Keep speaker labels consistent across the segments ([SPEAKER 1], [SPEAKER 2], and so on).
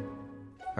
[SPEAKER 1] All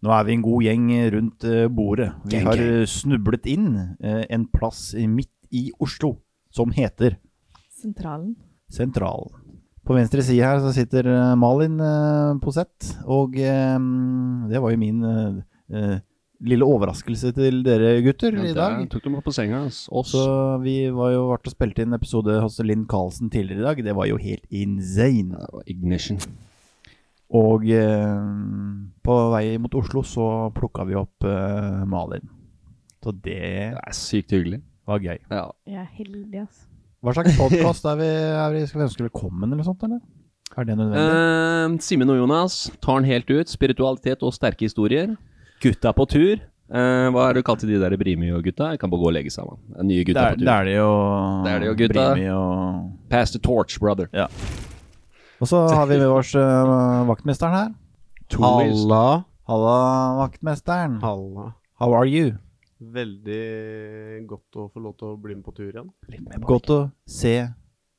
[SPEAKER 2] Nå er vi en god gjeng rundt eh, bordet. Vi
[SPEAKER 1] Gang,
[SPEAKER 2] har
[SPEAKER 1] gang.
[SPEAKER 2] eh, snublet inn eh, en plass i- midt i Oslo som heter
[SPEAKER 3] Sentralen.
[SPEAKER 2] Sentralen. På venstre side her så sitter eh, Malin eh, Posett, og eh, det var jo min eh, eh, lille overraskelse til dere gutter i dag.
[SPEAKER 4] der tok de meg på senga. ass. Oss.
[SPEAKER 2] Så vi var jo vært og spilte inn episode hos Linn Karlsen tidligere i dag. Det var jo helt insane.
[SPEAKER 4] Det var Ignition.
[SPEAKER 2] Og eh, på vei mot Oslo så plukka vi opp eh, Malin. Så det
[SPEAKER 4] Det er sykt hyggelig.
[SPEAKER 2] var gøy.
[SPEAKER 4] Ja.
[SPEAKER 3] Jeg er heldig, altså.
[SPEAKER 2] Hva slags podkast er, vi- er vi? Skal vi ønske velkommen, eller sånt? eller? Er det nødvendig?
[SPEAKER 4] Eh, Simen og Jonas tar den helt ut. Spiritualitet og sterke historier. Gutta på tur. Eh, hva er det du kalte de der Brimi og gutta? Jeg kan bare gå og legge sammen. Eh, Nye
[SPEAKER 2] det,
[SPEAKER 4] gutta
[SPEAKER 2] er,
[SPEAKER 4] på tur.
[SPEAKER 2] det er det jo.
[SPEAKER 4] Det er det jo, gutta.
[SPEAKER 2] Brimi og
[SPEAKER 4] Pass the torch, brother.
[SPEAKER 2] Ja. Og så har vi med oss eh, vaktmesteren her.
[SPEAKER 5] Halla.
[SPEAKER 2] Halla, vaktmesteren.
[SPEAKER 5] Halla.
[SPEAKER 2] How are you?
[SPEAKER 5] Veldig godt å få lov til å bli med på tur igjen.
[SPEAKER 2] Godt å se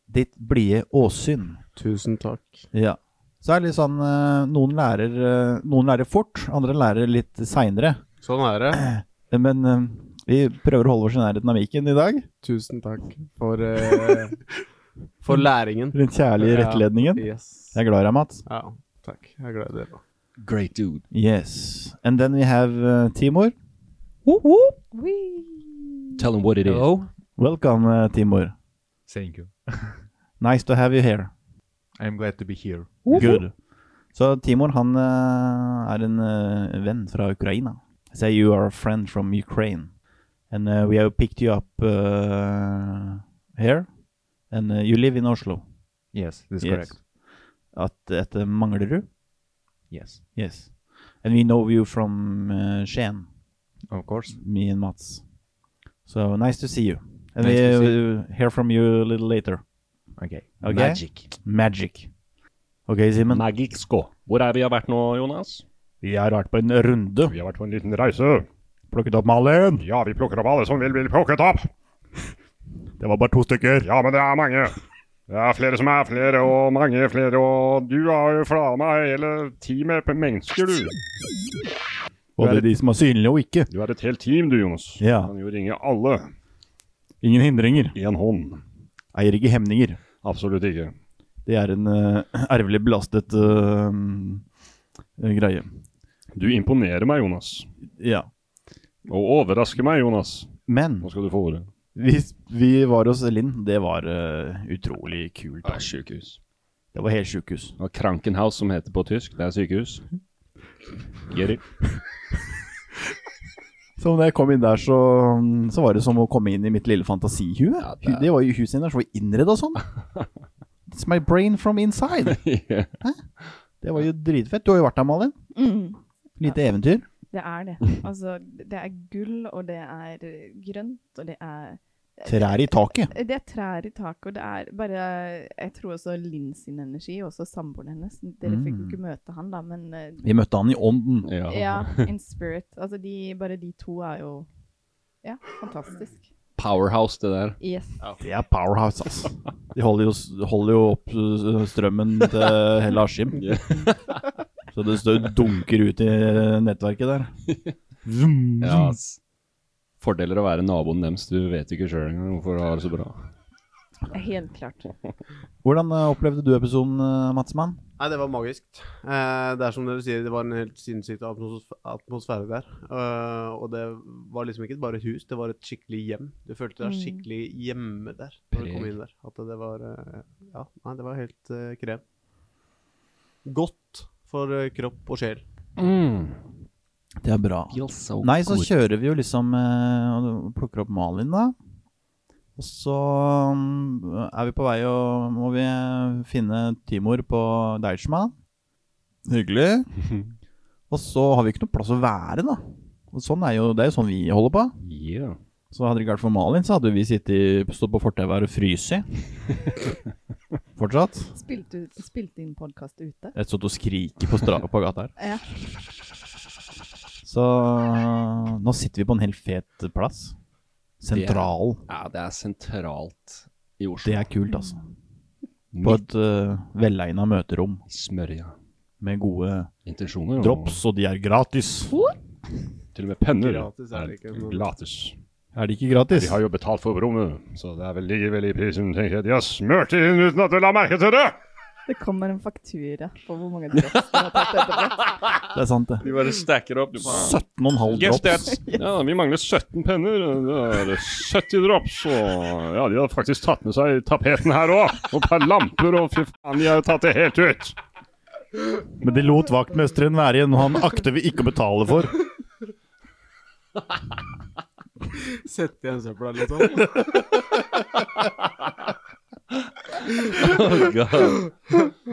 [SPEAKER 2] ditt blide åsyn.
[SPEAKER 5] Tusen takk.
[SPEAKER 2] Ja. Så er det litt sånn eh, Noen lærer, eh, noen lærer fort, andre lærer litt seinere.
[SPEAKER 5] Sånn er det.
[SPEAKER 2] Men eh, vi prøver å holde oss i nærheten av miken i dag.
[SPEAKER 5] Tusen takk for, eh, for læringen.
[SPEAKER 2] Den kjærlige rettledningen.
[SPEAKER 5] Ja, yes.
[SPEAKER 2] Jeg er glad i deg, Mats.
[SPEAKER 5] Ja, takk. Jeg er glad i dere.
[SPEAKER 4] Great dude.
[SPEAKER 2] Yes. And then we have uh, Timor.
[SPEAKER 4] Tell him what it is.
[SPEAKER 6] Hello.
[SPEAKER 2] Welcome, uh, Timor.
[SPEAKER 6] Thank you.
[SPEAKER 2] Nice to have you here.
[SPEAKER 6] I'm glad to be here.
[SPEAKER 2] Good. Så Timor, han eh, er en eh, venn fra Ukraina. Say you are a friend from Ukraine. And eh, we have picked you up eh, here. And eh, you live in Oslo.
[SPEAKER 6] Yes, that's
[SPEAKER 2] Yes.
[SPEAKER 6] correct.
[SPEAKER 2] At, at eh, Manglerud.
[SPEAKER 6] Yes,
[SPEAKER 2] Yes. And we know you from uh, Skien,
[SPEAKER 6] of course.
[SPEAKER 2] me and Mats. So nice to see you. And
[SPEAKER 6] Nice
[SPEAKER 2] we
[SPEAKER 6] to see
[SPEAKER 2] will hear from you a little later.
[SPEAKER 6] Okay.
[SPEAKER 2] Okay?
[SPEAKER 4] Magic.
[SPEAKER 2] Magic. Ok, Simen.
[SPEAKER 4] Magic sko. Hvor er vi har vært nå, Jonas?
[SPEAKER 2] Vi har vært på en runde.
[SPEAKER 4] har vært på en liten reise.
[SPEAKER 2] Plukket opp Malin.
[SPEAKER 4] Ja, vi plukker opp alle som vil bli plukket opp.
[SPEAKER 2] Det var bare to stykker.
[SPEAKER 4] Ja, men det er mange. Det er flere som er flere, og mange flere, og du har jo flana meg hele teamet på mennesker, du.
[SPEAKER 2] Både de som er synlige og ikke.
[SPEAKER 4] Du er et helt team, du, Jonas.
[SPEAKER 2] Ja.
[SPEAKER 4] Kan jo ringe alle.
[SPEAKER 2] Ingen hindringer.
[SPEAKER 4] Én hånd.
[SPEAKER 2] Eier ikke hemninger.
[SPEAKER 4] Absolutt ikke.
[SPEAKER 2] Det er en eh, ervelig belastet eh, greie.
[SPEAKER 4] Du imponerer meg, Jonas.
[SPEAKER 2] Ja.
[SPEAKER 4] Og overrasker meg, Jonas.
[SPEAKER 2] Men
[SPEAKER 4] Nå skal du få ordet.
[SPEAKER 2] vi, vi var hos Linn. Det var eh, utrolig kult.
[SPEAKER 4] Det er sykehus.
[SPEAKER 2] Det var helt sjukehus.
[SPEAKER 4] Det var Krankenhaus som heter på tysk. Det er sykehus. Get it?
[SPEAKER 2] Så når jeg kom inn der, så, mm, så var det som å komme inn i mitt lille fantasihue. det... var jo huset der som var innreda sånn. It's my brain from inside.
[SPEAKER 4] Ja.
[SPEAKER 2] Det var jo dritfett. Du har jo vært der, Malin.
[SPEAKER 3] Mm.
[SPEAKER 2] Lite eventyr.
[SPEAKER 3] Det er Eh, det. Altså, det er gull, og det er grønt, og det er
[SPEAKER 2] Trær i taket.
[SPEAKER 7] Det er trær i taket, og det er bare Jeg tror også Linn sin energi, og også samboeren hennes. Dere fikk jo
[SPEAKER 2] Mm.
[SPEAKER 7] ikke møte han, da, men eh,
[SPEAKER 2] Vi møtte han i ånden.
[SPEAKER 7] Ja, in spirit. Altså, de, bare de to er jo Ja, fantastisk.
[SPEAKER 4] Powerhouse, det der.
[SPEAKER 7] Yes.
[SPEAKER 2] Det er powerhouse, ass. De holder jo, holder jo opp øh, strømmen til hele Askim. Så det står dunker ut i eh, nettverket der. Vroom,
[SPEAKER 4] Ja,
[SPEAKER 2] vroom.
[SPEAKER 4] ass. Fordeler å være naboen deres. Du vet ikke sjøl engang hvorfor du har det så bra.
[SPEAKER 7] Helt klart.
[SPEAKER 2] Hvordan øh, opplevde du episoden, øh, Matsmann?
[SPEAKER 5] Nei, det var magisk. Eh, det er som dere sier, det var en helt sinnssyk atmos- atmosfære der. Eh, og det var liksom ikke bare et hus, det var et skikkelig hjem. Du følte deg
[SPEAKER 7] Mm.
[SPEAKER 5] skikkelig hjemme der når du kom
[SPEAKER 4] Preg.
[SPEAKER 5] inn der. At det var eh, Ja, nei, det var helt eh, krem. Godt for eh, kropp og sjel.
[SPEAKER 2] Mm. Det er bra. Nei, så kjører vi jo liksom eh, og plukker opp Malin, da. Og så mm, er vi på vei og må vi eh, finne Timor på Deichma. Hyggelig. Og så har vi ikke noe plass å være, da. Og sånn er jo, det er jo sånn vi holder på.
[SPEAKER 4] Yeah.
[SPEAKER 2] Så hadde det ikke vært for Malin, så hadde vi sittet i- stått på fortauet her og fryst. Fortsatt.
[SPEAKER 7] Spilte, ut- spilte inn podkast ute.
[SPEAKER 2] Jeg stått og skriker på, stra på gata her.
[SPEAKER 7] Ja.
[SPEAKER 2] Så nå sitter vi på en helt fet plass. Sentral.
[SPEAKER 4] Ja, det er sentralt i Oslo.
[SPEAKER 2] Det er kult, altså. På et uh, velegna møterom
[SPEAKER 4] Smørja.
[SPEAKER 2] med gode
[SPEAKER 4] Intensjoner. og-
[SPEAKER 2] drops, og de er gratis.
[SPEAKER 4] Til og med penner.
[SPEAKER 5] Gratis er det ikke, men-
[SPEAKER 4] Gratis.
[SPEAKER 2] Er de ikke gratis?
[SPEAKER 4] De har jo betalt for rommet, så det er vel likevel i prisen, tenker jeg. De har smurt det inn uten at du la merke til det!
[SPEAKER 7] Det kommer en faktura på hvor mange drops du har tatt etterpå.
[SPEAKER 2] Det er sant, det.
[SPEAKER 4] De bare stacker opp. Du bare
[SPEAKER 2] 17,5
[SPEAKER 4] Guess
[SPEAKER 2] drops.
[SPEAKER 4] that. Ja, vi mangler 17 penner. Det er 70 drops. Og ja, de har faktisk tatt med seg tapeten her òg. Og et par lamper, og fy faen, de har jo tatt det helt ut.
[SPEAKER 2] Men de lot vaktmesteren være igjen, og han akter vi ikke å betale for.
[SPEAKER 5] Sett igjen søpla litt sånn.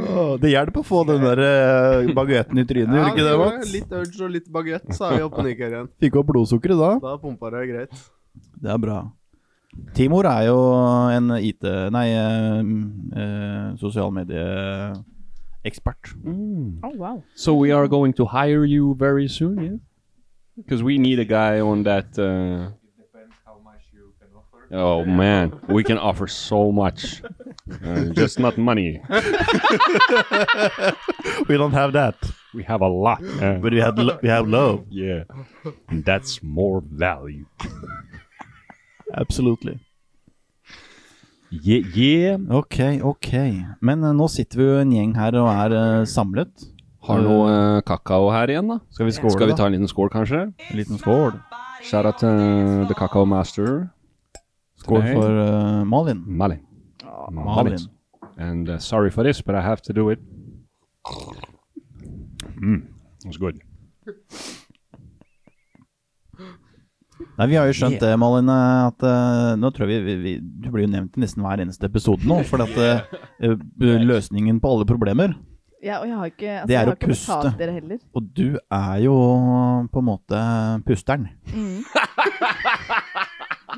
[SPEAKER 4] Oh
[SPEAKER 2] Det hjelper å få den der eh, baguetten i trynet, gjør ikke det, Mats?
[SPEAKER 5] litt urge og litt baguett, så er vi oppe og nikker igjen.
[SPEAKER 2] Fikk opp blodsukkeret da.
[SPEAKER 5] Da pumpa det greit.
[SPEAKER 2] Det er bra. Timor er jo en IT... Nei, eh, eh, sosial medie-ekspert.
[SPEAKER 7] Oh, wow.
[SPEAKER 4] So we are going to hire you very soon, yeah? Because we need a guy on that. Uh... Oh man, we can offer so much, uh, just not money.
[SPEAKER 2] We don't have that,
[SPEAKER 4] We have a lot, uh,
[SPEAKER 2] but we, had lo we have love.
[SPEAKER 4] yeah, and that's more value.
[SPEAKER 2] Absolutely.
[SPEAKER 4] Yeah, yeah.
[SPEAKER 2] Ok, ok. Men eh, nå sitter vi jo en gjeng her og er eh, samlet.
[SPEAKER 4] Har noe eh, kakao her igjen, da?
[SPEAKER 2] Skal vi skåle,
[SPEAKER 4] Skal vi ta en liten skål, kanskje?
[SPEAKER 2] da? En liten skål.
[SPEAKER 4] Shout out til The Kakao Master.
[SPEAKER 2] Skål
[SPEAKER 4] Nei.
[SPEAKER 2] for eh, Malin.
[SPEAKER 4] Malin.
[SPEAKER 2] Malin.
[SPEAKER 4] And uh, sorry for this, but I have to do it. Mm, it's good.
[SPEAKER 2] Nei, vi har jo skjønt det, Malin, eh, at eh, nå tror jeg vi, vi, vi Du blir jo nevnt i nesten hver eneste episode nå, for at eh, eh, løsningen på alle problemer
[SPEAKER 7] Ja, og jeg har ikke, altså,
[SPEAKER 2] Det er
[SPEAKER 7] jeg har
[SPEAKER 2] å
[SPEAKER 7] ikke betalt
[SPEAKER 2] puste.
[SPEAKER 7] dere heller.
[SPEAKER 2] Og du er jo på en måte pusteren.
[SPEAKER 7] Mm.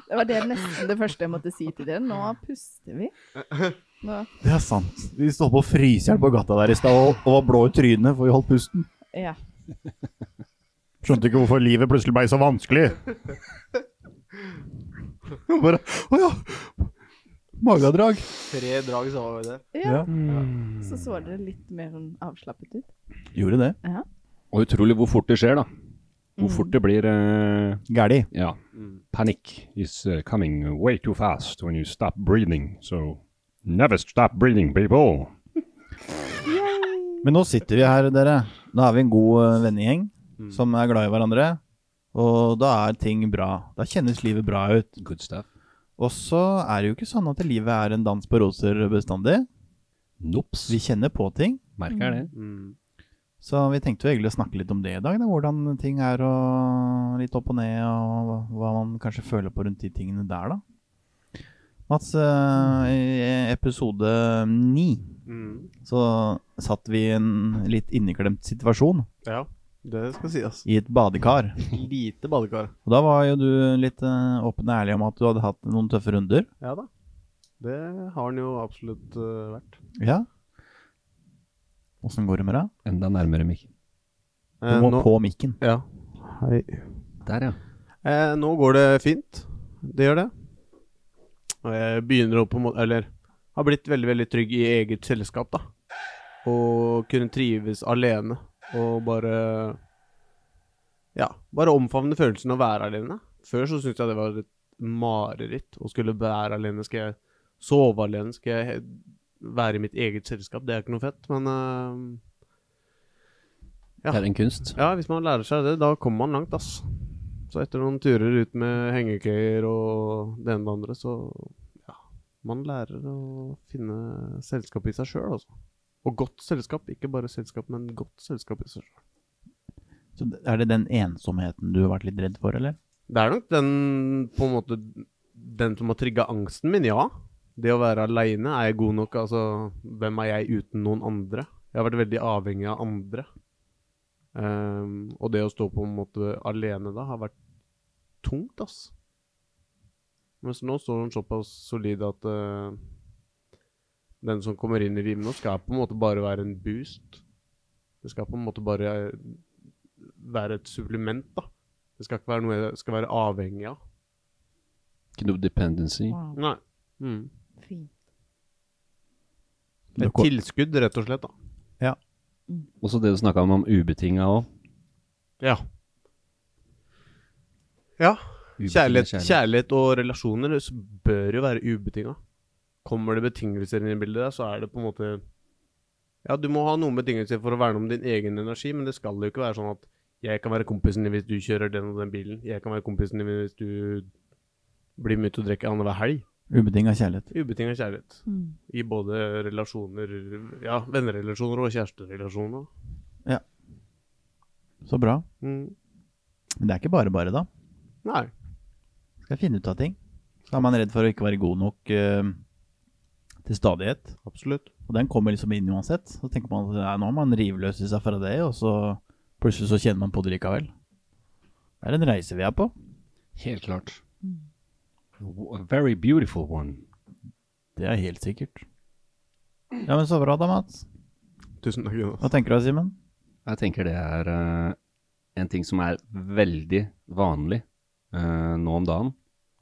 [SPEAKER 7] Det var det nesten det første jeg måtte si til dere. Nå puster vi. Nå,
[SPEAKER 2] Det er sant. Vi stod på å fryse i hjel på gata der i stad og, og var blå i trynet, for vi holdt pusten.
[SPEAKER 7] ja.
[SPEAKER 2] Skjønte ikke hvorfor livet plutselig ble så vanskelig. Og Bare Å ja. Magedrag.
[SPEAKER 5] Tre drag, så var vi der.
[SPEAKER 7] ja.
[SPEAKER 2] Ja.
[SPEAKER 7] Så så dere litt mer sånn avslappet ut.
[SPEAKER 2] Gjorde det.
[SPEAKER 7] Ja.
[SPEAKER 4] Og utrolig hvor fort det skjer, da. Hvor fort det blir eh,
[SPEAKER 2] Gæli.
[SPEAKER 4] Ja. Panic is uh, coming way too fast when you stop breathing. So never stop breathing, people.
[SPEAKER 2] Men nå sitter vi her, dere. Nå er vi en god eh, vennegjeng som er glad i hverandre. Og da er ting bra. Da kjennes livet bra ut.
[SPEAKER 4] Good stuff.
[SPEAKER 2] Og så er det jo ikke sånn at livet er en dans på roser bestandig.
[SPEAKER 4] Nops.
[SPEAKER 2] Vi kjenner på ting.
[SPEAKER 4] Merker det.
[SPEAKER 5] Mm.
[SPEAKER 2] Så vi tenkte jo egentlig å snakke litt om det i dag. Da. Hvordan ting er og litt opp og ned, og hva man kanskje føler på rundt de tingene der, da. Mats, eh, i episode ni
[SPEAKER 5] Mm.
[SPEAKER 2] så satt vi i en litt inneklemt situasjon.
[SPEAKER 5] Ja. Det skal sies.
[SPEAKER 2] i et badekar.
[SPEAKER 5] Lite badekar.
[SPEAKER 2] Og da var jo du litt eh, åpen og ærlig om at du hadde hatt noen tøffe runder.
[SPEAKER 5] Ja da. Det har den jo absolutt eh, vært.
[SPEAKER 2] Ja. Åssen går det med deg?
[SPEAKER 6] Enda nærmere mikken.
[SPEAKER 2] Du
[SPEAKER 5] Eh,
[SPEAKER 2] må
[SPEAKER 5] nå,
[SPEAKER 2] på mikken.
[SPEAKER 5] ja. Hei.
[SPEAKER 6] Der, ja.
[SPEAKER 5] Eh, nå går det fint. Det gjør det. Og jeg begynner å på en måte Eller har blitt veldig, veldig trygg i eget selskap, da. Og kunne trives alene og bare Ja, bare omfavne følelsen av å være alene. Før så syntes jeg det var et mareritt å skulle være alene. Skal jeg sove alene? Skal jeg he- være i mitt eget selskap? Det er ikke noe fett, men eh, Ja.
[SPEAKER 4] Det er en kunst.
[SPEAKER 5] ja, hvis man lærer seg det, da kommer man langt, ass. Så etter noen turer ut med hengekøyer og det ene med det andre, så ja, man lærer å finne selskap i seg sjøl, altså. Og godt selskap. Ikke bare selskap, men godt selskap i seg sjøl.
[SPEAKER 2] Så er det den ensomheten du har vært litt redd for, eller?
[SPEAKER 5] Det er nok den på en måte Den som har trigga angsten min, ja. Det å være aleine, er jeg god nok? Altså, hvem er jeg uten noen andre? Jeg har vært veldig avhengig av andre. Ehm, og det å stå på en måte alene da, har vært tungt, ass. Mens nå står den såpass solid at eh, den som kommer inn i livet nå, skal på en måte bare være en boost. Det skal på en måte bare eh, være et supplement, da. Det skal ikke være noe jeg skal være avhengig av.
[SPEAKER 4] Ikke noe dependency.
[SPEAKER 7] Wow,
[SPEAKER 5] Nei. Mm.
[SPEAKER 7] fint.
[SPEAKER 5] Et tilskudd, rett og slett. da.
[SPEAKER 4] Også det du snakka om om ubetinga òg.
[SPEAKER 5] Ja. Ja. Kjærlighet, kjærlighet og relasjoner s- bør jo være ubetinga. Kommer det betingelser inn i bildet, der, så er det på en måte Ja, du må ha noen betingelser for å verne om din egen energi, men det skal jo ikke være sånn at jeg kan være kompisen din hvis du kjører den og den bilen. Jeg kan være kompisen din hvis du blir med ut og drikker annenhver helg.
[SPEAKER 2] Ubetinga kjærlighet.
[SPEAKER 5] Ubetinga kjærlighet.
[SPEAKER 7] Mm.
[SPEAKER 5] I både relasjoner Ja, vennerelasjoner og kjæresterelasjoner.
[SPEAKER 2] Så bra.
[SPEAKER 5] Mm.
[SPEAKER 2] Men det er ikke bare bare, da.
[SPEAKER 5] Nei.
[SPEAKER 2] Skal finne ut av ting. Så er man redd for å ikke være god nok eh, til stadighet.
[SPEAKER 5] Absolutt.
[SPEAKER 2] Og den kommer liksom inn uansett. Så tenker man at nei, nå har man rivløs i seg fra det, og så plutselig så kjenner man på det likevel. Det er en reise vi er på.
[SPEAKER 4] Helt klart. A very beautiful one.
[SPEAKER 2] Det er helt sikkert. Ja, men så bra da, Mats.
[SPEAKER 5] Tusen takk, Jonas.
[SPEAKER 2] Hva tenker du, Simen?
[SPEAKER 4] Jeg tenker det er eh, en ting som er veldig vanlig eh, nå om dagen.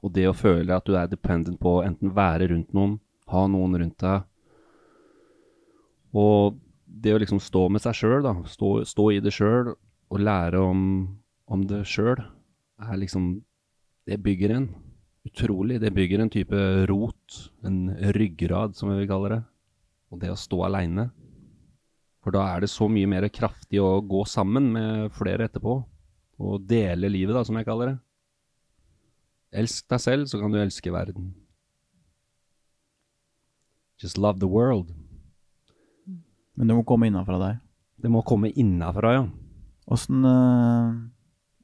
[SPEAKER 4] Og det å føle at du er dependent på å enten være rundt noen, ha noen rundt deg. Og det å liksom stå med seg sjøl, da. Stå, stå i det sjøl og lære om, om det sjøl, er liksom Det bygger en. Utrolig. Det bygger en type rot. En ryggrad, som vi vil kalle det. Og det å stå aleine. For da er det så mye mer kraftig å gå sammen med flere etterpå. Og dele livet, da, som jeg kaller det. Elsk deg selv, så kan du elske verden. Just love the world.
[SPEAKER 2] Men du må komme innafra deg.
[SPEAKER 4] Det må komme innafra, ja.
[SPEAKER 2] Åssen øh,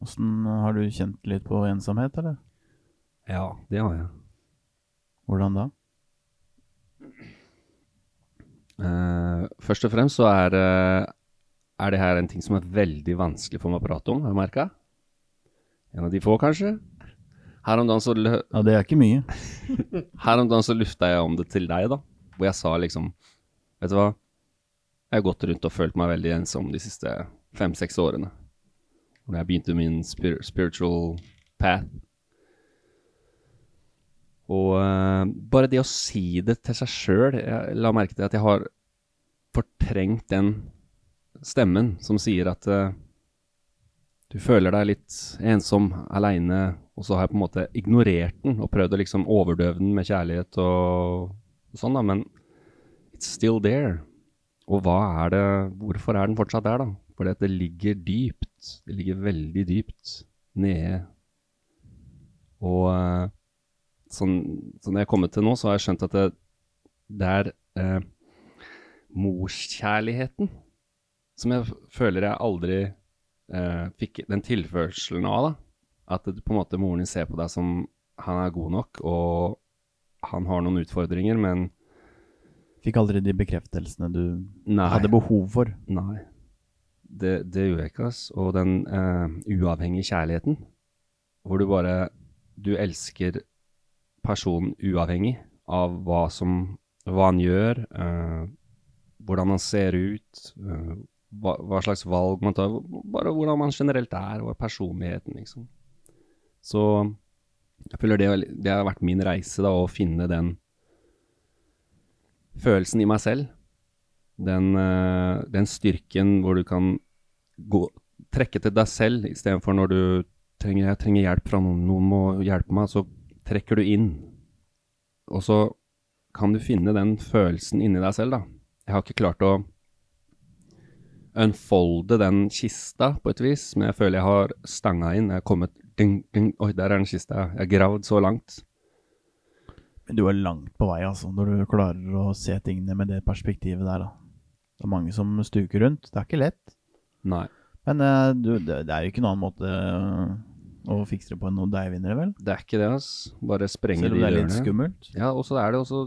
[SPEAKER 2] åssen har du kjent litt på ensomhet, eller?
[SPEAKER 4] Ja, det har jeg.
[SPEAKER 2] Hvordan da?
[SPEAKER 4] Eh, først og fremst så er, eh, er det her en ting som er veldig vanskelig for meg å prate om, har jeg merka. En av de få, kanskje. Her om dagen så lø
[SPEAKER 2] Ja, det er ikke mye.
[SPEAKER 4] Her om dagen så lufta jeg om det til deg, da. Hvor jeg sa liksom Vet du hva? Jeg har gått rundt og følt meg veldig ensom de siste fem-seks årene. Når jeg begynte min spir spiritual path. Og eh, bare det å si det til seg sjøl Jeg la merke til at jeg har fortrengt den stemmen som sier at eh, du føler deg litt ensom, aleine, og så har jeg på en måte ignorert den og prøvd å liksom overdøve den med kjærlighet og, og sånn, da, men it's still there. Og hva er det Hvorfor er den fortsatt der, da? Fordi at det ligger dypt. Det ligger veldig dypt nede. Og eh, sånn, sånn jeg har kommet til nå, så har jeg skjønt at det, det er eh, morskjærligheten som jeg f- føler jeg aldri eh, fikk den tilførselen av, da. At det, på en måte moren din ser på deg som han er god nok, og han har noen utfordringer, men
[SPEAKER 2] Fikk aldri de bekreftelsene du
[SPEAKER 4] nei.
[SPEAKER 2] hadde behov for.
[SPEAKER 4] nei. det, det gjør jeg ikke, ass. Og den eh, uavhengige kjærligheten, hvor du bare Du elsker personen uavhengig av hva som Hva han gjør, eh, hvordan han ser ut, eh, hva, hva slags valg man tar, bare hvordan man generelt er, og personligheten, liksom. Så jeg føler det, er- det har vært min reise, da, å finne den følelsen i meg selv. Den, eh, den styrken hvor du kan gå, trekke til deg selv istedenfor når du trenger, jeg trenger hjelp fra noen, noen må hjelpe meg, så trekker du inn. Og så kan du finne den følelsen inni deg selv, da. Jeg har ikke klart å unfolde den kista på et vis, men jeg føler jeg har stanga inn. Jeg har kommet ding, ding, Oi, der er den kista. Jeg har gravd så langt.
[SPEAKER 2] Men du er langt på vei, altså, når du klarer å se tingene med det perspektivet der, da. Det er mange som stuker rundt. Det er ikke lett.
[SPEAKER 4] Nei.
[SPEAKER 2] Men eh, du, det, det er jo ikke noen annen måte eh, å fikse det på enn noen deigvinnere, vel?
[SPEAKER 4] Det er ikke det, altså. Bare sprenge de
[SPEAKER 2] Selv om
[SPEAKER 4] dørene.
[SPEAKER 2] det er litt skummelt?
[SPEAKER 4] Ja, og så er det også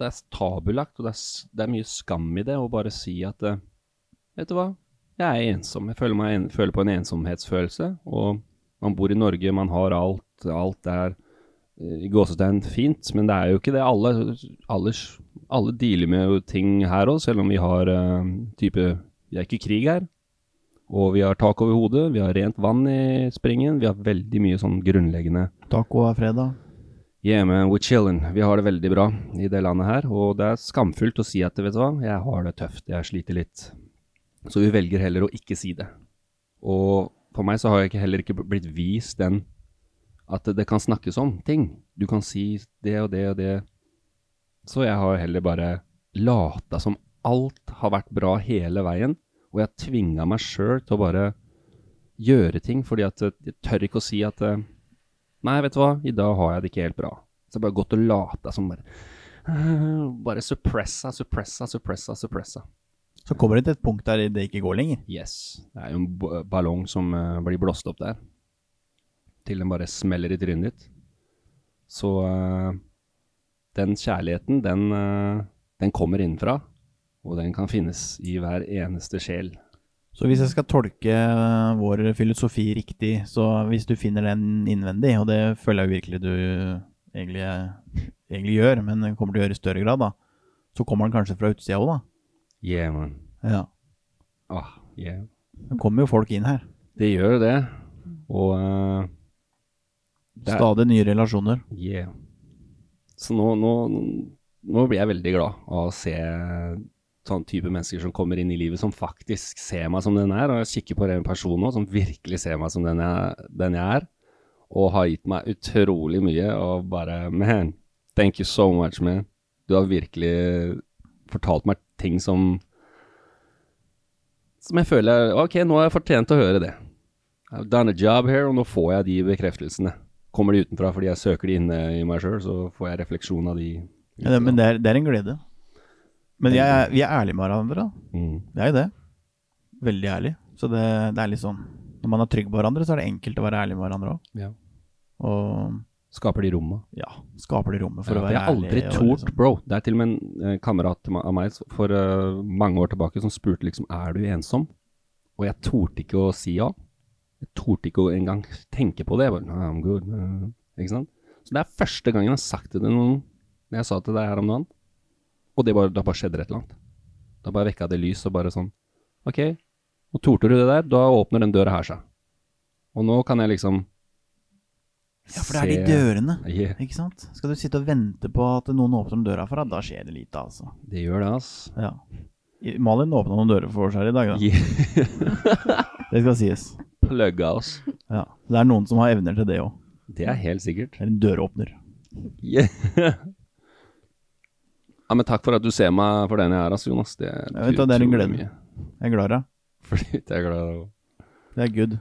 [SPEAKER 4] Det er tabulagt, og det er, s- det er mye skam i det å bare si at eh, Vet du hva, jeg er ensom. Jeg føler, meg en, føler på en ensomhetsfølelse. Og man bor i Norge, man har alt. Alt er eh, i gåsetegn fint, men det er jo ikke det. Alle, alle, alle dealer med jo ting her òg, selv om vi har eh, type Vi er ikke i krig her. Og vi har tak over hodet, vi har rent vann i springen. Vi har veldig mye sånn grunnleggende
[SPEAKER 2] Taco er fredag.
[SPEAKER 4] Hjemme, we're chillin'. Vi har det veldig bra i det landet her, og det er skamfullt å si at vet du hva, jeg har det tøft, jeg sliter litt. Så vi velger heller å ikke si det. Og for meg så har jeg ikke, heller ikke blitt vist den at det kan snakkes om ting. Du kan si det og det og det. Så jeg har heller bare lata som alt har vært bra hele veien, og jeg tvinga meg sjøl til å bare gjøre ting, fordi at eh, jeg tør ikke å si at eh, Nei, vet du hva, i dag har jeg det ikke helt bra. Så jeg bare gått og lata som bare «Øh», Bare suppressa, suppressa, suppressa, suppressa.
[SPEAKER 2] Så kommer det til et punkt der det ikke går lenger.
[SPEAKER 4] Yes. Det er jo en b- ballong som eh, blir blåst opp der. Til den bare smeller i trynet ditt. Så eh, den kjærligheten, den, eh, den kommer innenfra. Og den kan finnes i hver eneste sjel.
[SPEAKER 2] Så hvis jeg skal tolke eh, vår filosofi riktig, så hvis du finner den innvendig, og det føler jeg jo virkelig du egentlig, eh, egentlig gjør, men kommer til å gjøre i større grad, da, så kommer den kanskje fra utsida òg, da.
[SPEAKER 4] Yeah, man.
[SPEAKER 2] Ja.
[SPEAKER 4] Ah, yeah.
[SPEAKER 2] Det kommer jo folk inn her.
[SPEAKER 4] Det gjør jo det. Og eh, det er-
[SPEAKER 2] Stadig nye relasjoner.
[SPEAKER 4] Yeah. Så nå, nå, nå blir jeg veldig glad av å se sånn type mennesker som kommer inn i livet, som faktisk ser meg som den er. Og jeg kikker på den personen nå, som virkelig ser meg som den jeg, den jeg er. Og har gitt meg utrolig mye. Og bare Man, thank you so much, man. Du har virkelig fortalt meg ting som Som jeg føler Ok, nå har jeg fortjent å høre det. I've done a job here, og nå får jeg de bekreftelsene. Kommer de utenfra fordi jeg søker de inne i meg sjøl, så får jeg refleksjon av de.
[SPEAKER 2] Ja, det, men det er, det er en glede. Men jeg, er- vi er ærlige med hverandre, da.
[SPEAKER 4] Mm.
[SPEAKER 2] Det er jo det. Veldig ærlig. Så det, det er litt sånn Når man er trygg på hverandre, så er det enkelt å være ærlig med hverandre òg.
[SPEAKER 4] Ja.
[SPEAKER 2] Og
[SPEAKER 4] Skaper de rommet.
[SPEAKER 2] ja, skaper det rommet for
[SPEAKER 4] Ja,
[SPEAKER 2] å være
[SPEAKER 4] jeg har aldri
[SPEAKER 2] ærlig. og
[SPEAKER 4] tort,
[SPEAKER 2] liksom-
[SPEAKER 4] bro. Det er til og med en eh, kamerat ma- av meg s- for eh, mange år tilbake som spurte liksom er du ensom. Og jeg torde ikke å si ja. Jeg torde ikke å engang tenke på det. Jeg bare, «Nah, I'm good. eh», Ikke sant? Så det er første gangen jeg har sagt det til noen når jeg sa til deg her om dagen. Og det bare, da bare skjedde det et eller annet. Da bare vekka det lys og bare sånn Ok, nå torde du det der. Da åpner den døra her seg. Og nå kan jeg liksom
[SPEAKER 2] Ja, for det er de
[SPEAKER 4] se-
[SPEAKER 2] dørene,
[SPEAKER 4] Yeah.
[SPEAKER 2] ikke sant? Skal du sitte og vente på at noen åpner døra for deg, da skjer det lite, altså.
[SPEAKER 4] Det gjør det, ass.
[SPEAKER 2] Ja. I- Malin åpna noen dører for oss her i dag, da. Det skal sies.
[SPEAKER 4] Plugga oss.
[SPEAKER 2] Ja. Det er noen som har evner til det òg.
[SPEAKER 4] Det er helt sikkert.
[SPEAKER 2] En døråpner.
[SPEAKER 4] ja, men takk for at du ser meg for den jeg er, altså, Jonas. Det,
[SPEAKER 2] Jeg vet da, det er en
[SPEAKER 4] utrolig
[SPEAKER 2] glede.
[SPEAKER 4] mye.
[SPEAKER 2] Jeg er glad i deg.
[SPEAKER 4] Fordi jeg er glad i deg.
[SPEAKER 2] Det er good.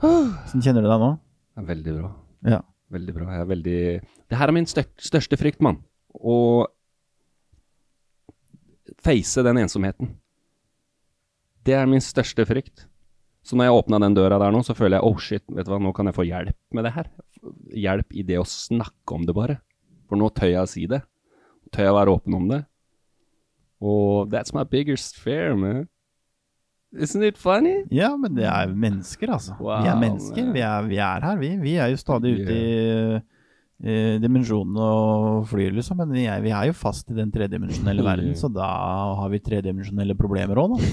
[SPEAKER 2] Hvordan kjenner du deg nå?
[SPEAKER 4] Det er Veldig bra.
[SPEAKER 2] Ja.
[SPEAKER 4] Veldig bra. Jeg er veldig Det her er min stør største frykt, mann. Å face den ensomheten. Det er min største frykt. Så når jeg åpna den døra der nå, så føler jeg oh shit, vet du hva, nå kan jeg få hjelp med det her. Hjelp i det å snakke om det, bare. For nå tør jeg å si det. Tør jeg å være åpen om det. Og that's my biggest fear, man. Isn't it funny?
[SPEAKER 2] Ja, men det er mennesker, altså. vi er
[SPEAKER 4] Wow,
[SPEAKER 2] mennesker.
[SPEAKER 4] man.
[SPEAKER 2] Vi er, vi er her, vi. Vi er jo stadig ute i eh, dimensjonene og flyr, liksom. Men vi er, vi er jo fast i den tredimensjonelle verden, så da har vi tredimensjonelle problemer òg, da.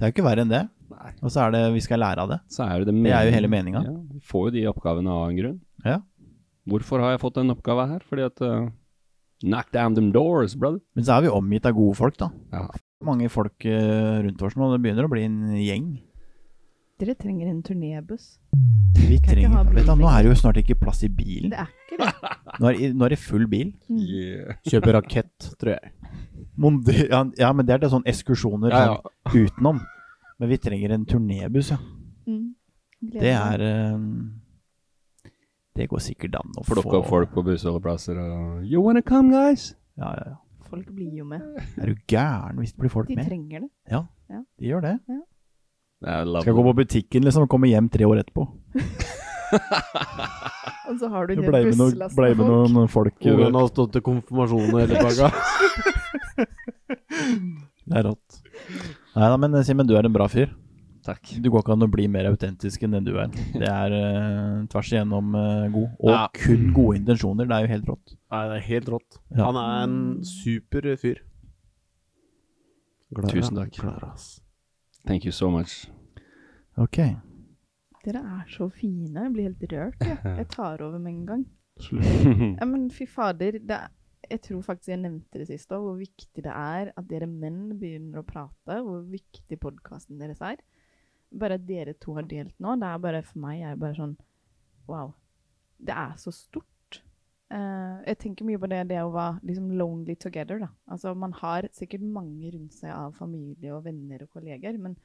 [SPEAKER 2] Det er jo ikke verre enn det. Og så er det vi skal lære av det.
[SPEAKER 4] Så er jo det,
[SPEAKER 2] Det er jo hele
[SPEAKER 4] meningen.
[SPEAKER 2] meninga.
[SPEAKER 4] Ja, vi får jo de oppgavene av en grunn.
[SPEAKER 2] Ja.
[SPEAKER 4] Hvorfor har jeg fått den oppgava her? Fordi at eh, Knock down them doors, brother.
[SPEAKER 2] Men så er vi omgitt av gode folk, da.
[SPEAKER 4] Ja.
[SPEAKER 2] Mange folk eh, rundt oss nå. Det begynner å bli en gjeng.
[SPEAKER 7] Dere trenger en turnébuss.
[SPEAKER 2] Vi
[SPEAKER 7] Kan ikke ha
[SPEAKER 2] trenger,
[SPEAKER 7] bil
[SPEAKER 2] vet du, Nå er
[SPEAKER 7] lenger.
[SPEAKER 2] det jo snart ikke plass i bilen.
[SPEAKER 7] Det er ikke det.
[SPEAKER 2] Nå er, nå er det full bil.
[SPEAKER 7] Mm.
[SPEAKER 5] Kjøpe rakett, tror jeg.
[SPEAKER 2] Mondi- ja, ja, men det er det sånne ekskursjoner
[SPEAKER 5] Ja, ja.
[SPEAKER 2] sånn utenom. Men vi trenger en turnébuss, ja.
[SPEAKER 7] Mm. Gleder
[SPEAKER 2] Det
[SPEAKER 7] meg.
[SPEAKER 2] er eh, Det går sikkert an å
[SPEAKER 4] Plukke opp folk på bussholdeplasser og You wanna come, guys?
[SPEAKER 2] Ja, ja, ja.
[SPEAKER 7] Folk blir jo med.
[SPEAKER 2] Er du gæren hvis det blir folk
[SPEAKER 7] De
[SPEAKER 2] med?
[SPEAKER 7] trenger det.
[SPEAKER 2] Ja,
[SPEAKER 7] Ja.
[SPEAKER 2] de gjør det.
[SPEAKER 4] I love
[SPEAKER 2] Skal gå på butikken liksom og komme hjem tre år etterpå.
[SPEAKER 7] Og så har du
[SPEAKER 2] Det
[SPEAKER 7] det
[SPEAKER 2] ble med, noe,
[SPEAKER 7] busslasten
[SPEAKER 2] ble med
[SPEAKER 7] folk.
[SPEAKER 2] noen folk eh,
[SPEAKER 5] Ungene har stått til konfirmasjoner hele pakka.
[SPEAKER 2] Det er rått. Nei da, men eh, Simen, du er en bra fyr.
[SPEAKER 4] it. Takk.
[SPEAKER 2] Du går ikke an å bli mer autentisk enn den du er. Det er eh, tvers igjennom eh, god. Og
[SPEAKER 5] Ja.
[SPEAKER 2] kun gode intensjoner. Det er jo helt rått.
[SPEAKER 5] Nei, det er helt rått.
[SPEAKER 2] Ja.
[SPEAKER 5] Han er en super fyr.
[SPEAKER 4] Tusen takk. Thank you so much.
[SPEAKER 2] Ok.
[SPEAKER 7] Dere er så fine. Jeg blir helt rørt. Jeg, jeg tar over med en gang. Ja, men eh, fy fader. Det er, jeg tror faktisk jeg nevnte det sist òg, hvor viktig det er at dere menn begynner å prate. Hvor viktig podkasten deres er. Bare at dere to har delt nå, det er bare for meg er det bare sånn Wow. Det er så stort. Eh, jeg tenker mye på det, det å være liksom lonely together. da. Altså, Man har sikkert mange rundt seg av familie og venner og kolleger, men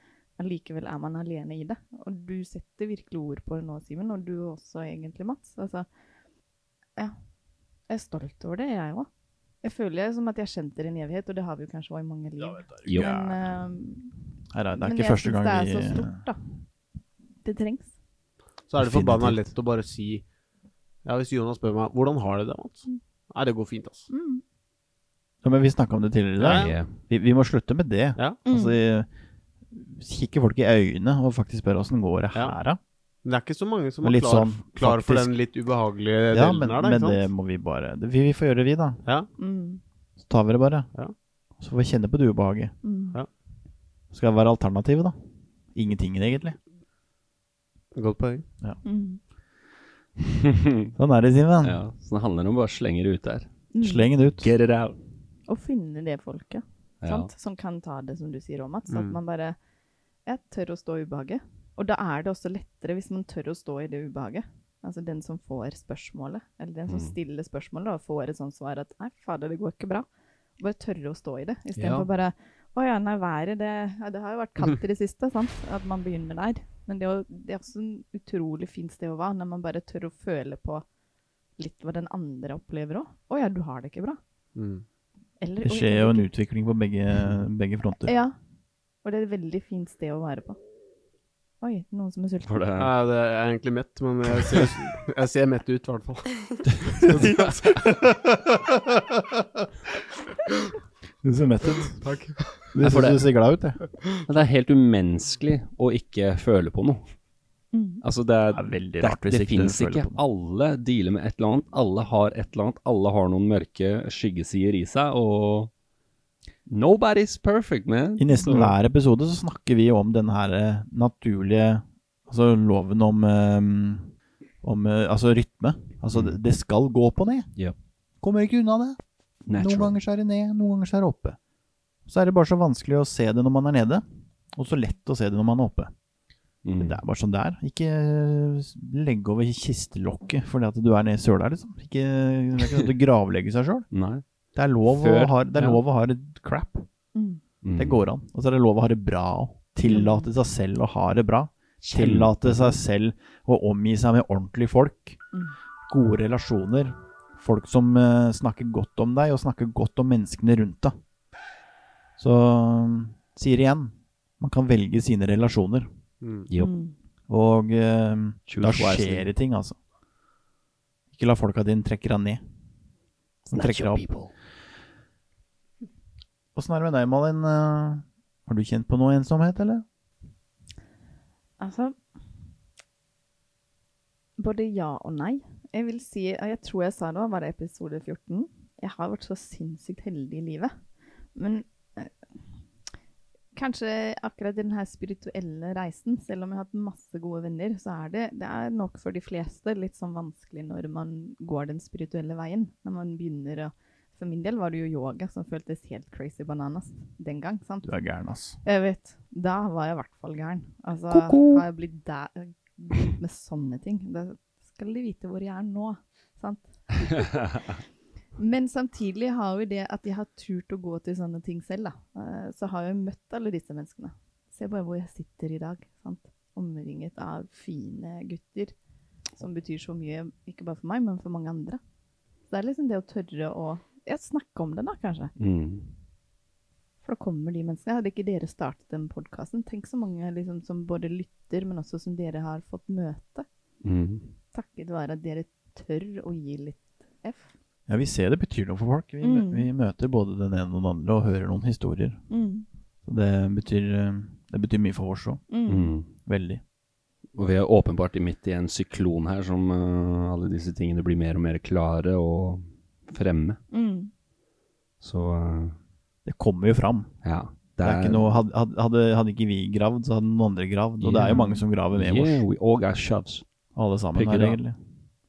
[SPEAKER 7] allikevel er man alene i det. Og du setter virkelig ord på det nå, Simen, og du også egentlig, Mats. Altså, ja. Jeg er stolt over det, jeg òg. Jeg føler som at jeg har kjent dere i en evighet, og det har vi jo kanskje også i mange liv.
[SPEAKER 4] Jo.
[SPEAKER 7] Men, eh,
[SPEAKER 2] Her er, det er
[SPEAKER 7] men
[SPEAKER 2] ikke
[SPEAKER 7] jeg
[SPEAKER 2] første
[SPEAKER 7] synes
[SPEAKER 2] gang
[SPEAKER 7] det er
[SPEAKER 2] vi
[SPEAKER 7] så stort, da. Det trengs.
[SPEAKER 5] Så er det forbanna lett å bare si Ja, hvis Jonas spør meg hvordan har det det, Mats? Nei, det går fint, altså.
[SPEAKER 7] Mm.
[SPEAKER 2] ja, Men vi snakka om det tidligere i dag.
[SPEAKER 4] Yeah.
[SPEAKER 2] Vi, vi må slutte med det.
[SPEAKER 5] Ja.
[SPEAKER 7] Mm.
[SPEAKER 2] Altså, kikke folk i øynene og faktisk spørre åssen går det
[SPEAKER 5] Ja.
[SPEAKER 2] her, da.
[SPEAKER 5] Men det er ikke så mange som
[SPEAKER 2] Men
[SPEAKER 5] er
[SPEAKER 2] litt
[SPEAKER 5] klar,
[SPEAKER 2] sånn,
[SPEAKER 5] klar for
[SPEAKER 2] faktisk-
[SPEAKER 5] den litt ubehagelige
[SPEAKER 2] Ja,
[SPEAKER 5] delen
[SPEAKER 2] men,
[SPEAKER 5] her, da.
[SPEAKER 2] men
[SPEAKER 5] Ikke
[SPEAKER 2] det
[SPEAKER 5] sant?
[SPEAKER 2] må vi bare det, vi, vi får gjøre det, vi, da.
[SPEAKER 5] Ja.
[SPEAKER 7] Mm.
[SPEAKER 2] Så tar vi det bare.
[SPEAKER 5] Ja.
[SPEAKER 2] Så får vi kjenne på det ubehaget.
[SPEAKER 7] Mm.
[SPEAKER 2] Skal det være alternativet, da? Ingenting, egentlig.
[SPEAKER 5] Godt poeng.
[SPEAKER 7] Mm.
[SPEAKER 2] Sånn er det, Simen.
[SPEAKER 4] Ja, så det handler om å bare slenge det ut der.
[SPEAKER 7] Mm.
[SPEAKER 2] Sleng det ut.
[SPEAKER 4] Get it out.
[SPEAKER 7] Å finne det folket
[SPEAKER 4] Ja.
[SPEAKER 7] sant? som kan ta det, som du sier òg, Mats. At
[SPEAKER 5] Mm.
[SPEAKER 7] man bare Jeg tør å stå i ubehaget. Og da er det også lettere hvis man tør å stå i det ubehaget. Altså den som får spørsmålet, eller den som
[SPEAKER 5] Mm.
[SPEAKER 7] stiller spørsmålet og får et sånt svar at nei, fader, det går ikke bra. Bare tørre å stå i det,
[SPEAKER 4] Ja.
[SPEAKER 7] istedenfor for bare å ja, nei, været det, ja, det har jo vært kaldt i det siste, sant. At man begynner der. Men det, er jo- det er også en utrolig fint sted å være, når man bare tør å føle på litt hva den andre opplever òg. Å ja, du har det ikke bra.
[SPEAKER 5] Mm.
[SPEAKER 7] Eller,
[SPEAKER 2] Det
[SPEAKER 7] «Oi,
[SPEAKER 2] skjer
[SPEAKER 7] jeg
[SPEAKER 2] jo
[SPEAKER 7] vet
[SPEAKER 2] en utvikling på begge, begge fronter.
[SPEAKER 7] ja. Og det er et veldig fint sted å være på. Oi, noen som er sulten.
[SPEAKER 4] For det,
[SPEAKER 5] Nei, det jeg er egentlig mett, men jeg ser, jeg ser mett ut, i hvert fall.
[SPEAKER 2] Du ser mett ut.
[SPEAKER 5] Takk.
[SPEAKER 2] Du
[SPEAKER 4] Jeg får
[SPEAKER 2] synes
[SPEAKER 4] det.
[SPEAKER 2] du ser glad ut, jeg.
[SPEAKER 4] Men det er helt umenneskelig å ikke føle på noe.
[SPEAKER 7] Mm.
[SPEAKER 4] Altså det, er,
[SPEAKER 2] Det er veldig
[SPEAKER 4] det,
[SPEAKER 2] rart hvis
[SPEAKER 4] det
[SPEAKER 2] ikke du
[SPEAKER 4] finnes
[SPEAKER 2] føler
[SPEAKER 4] ikke.
[SPEAKER 2] på noe.
[SPEAKER 4] Alle dealer med et eller annet. Alle har et eller annet. Alle har noen mørke skyggesider i seg, og Nobody's perfect, man.
[SPEAKER 2] I nesten
[SPEAKER 4] Så-
[SPEAKER 2] hver episode så snakker vi jo om den her eh, naturlige Altså loven om, eh, om eh, Altså rytme. Altså det, det skal gå opp og ned.
[SPEAKER 4] Mm. Ja.
[SPEAKER 2] Kommer ikke unna det.
[SPEAKER 4] Natural.
[SPEAKER 2] Noen ganger så er det ned, noen ganger så er det oppe. Så er det bare så vanskelig å se det når man er nede, og så lett å se det når man er oppe.
[SPEAKER 4] Mm.
[SPEAKER 2] Det er bare sånn det er. Ikke eh, legge over kistelokket fordi at du er nede i søla, liksom. Ikke, det er ikke sånn at du gravlegger seg sjøl.
[SPEAKER 4] Nei.
[SPEAKER 2] Det er lov,
[SPEAKER 4] Før,
[SPEAKER 2] å, ha, det er
[SPEAKER 4] ja.
[SPEAKER 2] lov å ha det crap.
[SPEAKER 7] Mm.
[SPEAKER 4] Mm.
[SPEAKER 2] Det går an. Og så er det lov å ha det bra òg. Tillate seg selv å ha det bra. Tillate seg selv å omgi seg med ordentlige folk.
[SPEAKER 7] Mm.
[SPEAKER 2] Gode relasjoner. Folk som eh, snakker godt om deg, og snakker godt om menneskene rundt deg. Så mm, sier igjen man kan velge sine relasjoner.
[SPEAKER 5] Mm.
[SPEAKER 4] Jo.
[SPEAKER 7] Mm.
[SPEAKER 2] Og eh,
[SPEAKER 4] Choose
[SPEAKER 2] da
[SPEAKER 4] wisely.
[SPEAKER 2] skjer det ting, altså. Ikke la folka dine trekke deg ned. De trekker deg opp. Åssen er det med deg, Malin? Eh, Har du kjent på noe ensomhet, eller?
[SPEAKER 7] Altså Både ja og nei. Jeg vil si, og jeg tror jeg sa det òg, var det episode 14? Jeg har vært så sinnssykt heldig i livet. Men eh, kanskje akkurat i denne spirituelle reisen, selv om jeg har hatt masse gode venner, så er det, det er nok for de fleste litt sånn vanskelig når man går den spirituelle veien. Når man begynner å For min del var det jo yoga som føltes helt crazy bananas den gang. sant?
[SPEAKER 2] Du er gæren, ass.
[SPEAKER 7] Jeg vet. Da var jeg i hvert fall gæren. Altså,
[SPEAKER 2] Ko-ko.
[SPEAKER 7] har jeg blitt der blitt med sånne ting? Da skal de vite hvor jeg er nå, sant? Men samtidig har jo det at jeg har turt å gå til sånne ting selv, da. Eh, Så har jeg møtt alle disse menneskene. Se bare hvor jeg sitter i dag, sant? Omringet av fine gutter, som betyr så mye, ikke bare for meg, men for mange andre. Så det er liksom det å tørre å ja, snakke om det, da, kanskje.
[SPEAKER 4] Mm.
[SPEAKER 7] For da kommer de menneskene. Hadde ikke dere startet den podkasten? Tenk så mange liksom, som både lytter, men også som dere har fått møte.
[SPEAKER 4] Mm.
[SPEAKER 7] Takket være at dere tør å gi litt F.
[SPEAKER 2] Ja, vi ser det betyr noe for folk. Vi, mø-
[SPEAKER 7] Mm.
[SPEAKER 2] vi møter både den ene og den andre og hører noen historier.
[SPEAKER 7] Mm.
[SPEAKER 2] Så det betyr, eh, det betyr mye for oss òg. Veldig.
[SPEAKER 4] Mm. Og vi er åpenbart i midt i en syklon her som eh, alle disse tingene blir mer og mer klare og fremme.
[SPEAKER 7] Mm.
[SPEAKER 4] Så
[SPEAKER 2] Det kommer jo fram.
[SPEAKER 4] eh, ja.
[SPEAKER 2] Det er ikke noe, had- had- hadde, hadde ikke vi gravd, så hadde noen andre gravd. Og det er jo mange som graver med
[SPEAKER 4] yeah,
[SPEAKER 2] oss.
[SPEAKER 4] we all got shoves.
[SPEAKER 2] Alle sammen
[SPEAKER 4] Pick it
[SPEAKER 2] her,
[SPEAKER 4] up.
[SPEAKER 2] egentlig.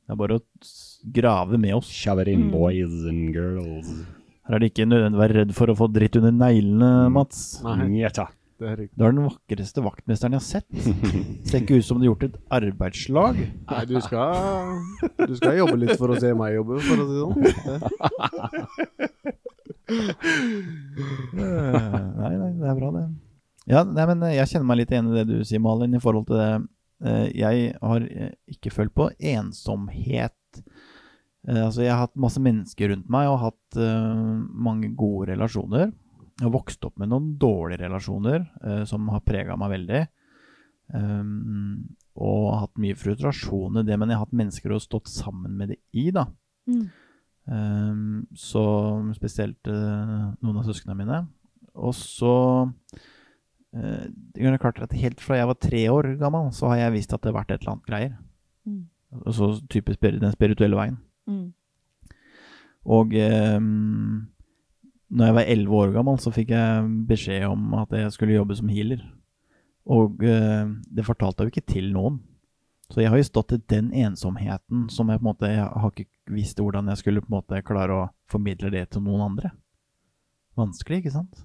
[SPEAKER 2] Det er bare å s- grave med oss.
[SPEAKER 4] Shove it in, boys and girls.
[SPEAKER 2] Her er det ikke nødvendig å være redd for å få dritt under neglene, Mats.
[SPEAKER 4] Njeta.
[SPEAKER 5] Det er riktig.
[SPEAKER 2] Du er den vakreste vaktmesteren jeg har sett. Ser ikke ut som du har gjort et arbeidslag.
[SPEAKER 5] Nei, du skal, du skal jobbe litt for å se meg jobbe, for å si det sånn.
[SPEAKER 2] Eh, nei, nei, det er bra det. Ja, nei, men eh, jeg kjenner meg litt igjen i det du sier, Malin, i forhold til det. Eh, Jeg har eh, ikke følt på ensomhet. Eh, Altså, jeg har hatt masse mennesker rundt meg og hatt eh, mange gode relasjoner. Jeg har vokst opp med noen dårlige relasjoner eh, som har prega meg veldig. Um, og hatt mye frustrasjon i det, men jeg har hatt mennesker å stått sammen med det i, da. Um, så spesielt eh, noen av søsknene mine. Og så eh, det er klart at Helt fra jeg var tre år gammel, så har jeg visst at det har vært et eller annet greier.
[SPEAKER 7] Mm.
[SPEAKER 2] Og så type spir den spirituelle veien. Og eh, når jeg var elleve år gammel, så fikk jeg beskjed om at jeg skulle jobbe som healer. Og eh, det fortalte jeg jo ikke til noen. Så jeg har jo stått i den ensomheten som jeg på en måte Jeg har ikke visst hvordan jeg skulle på en måte klare å formidle det til noen andre. Vanskelig, ikke sant?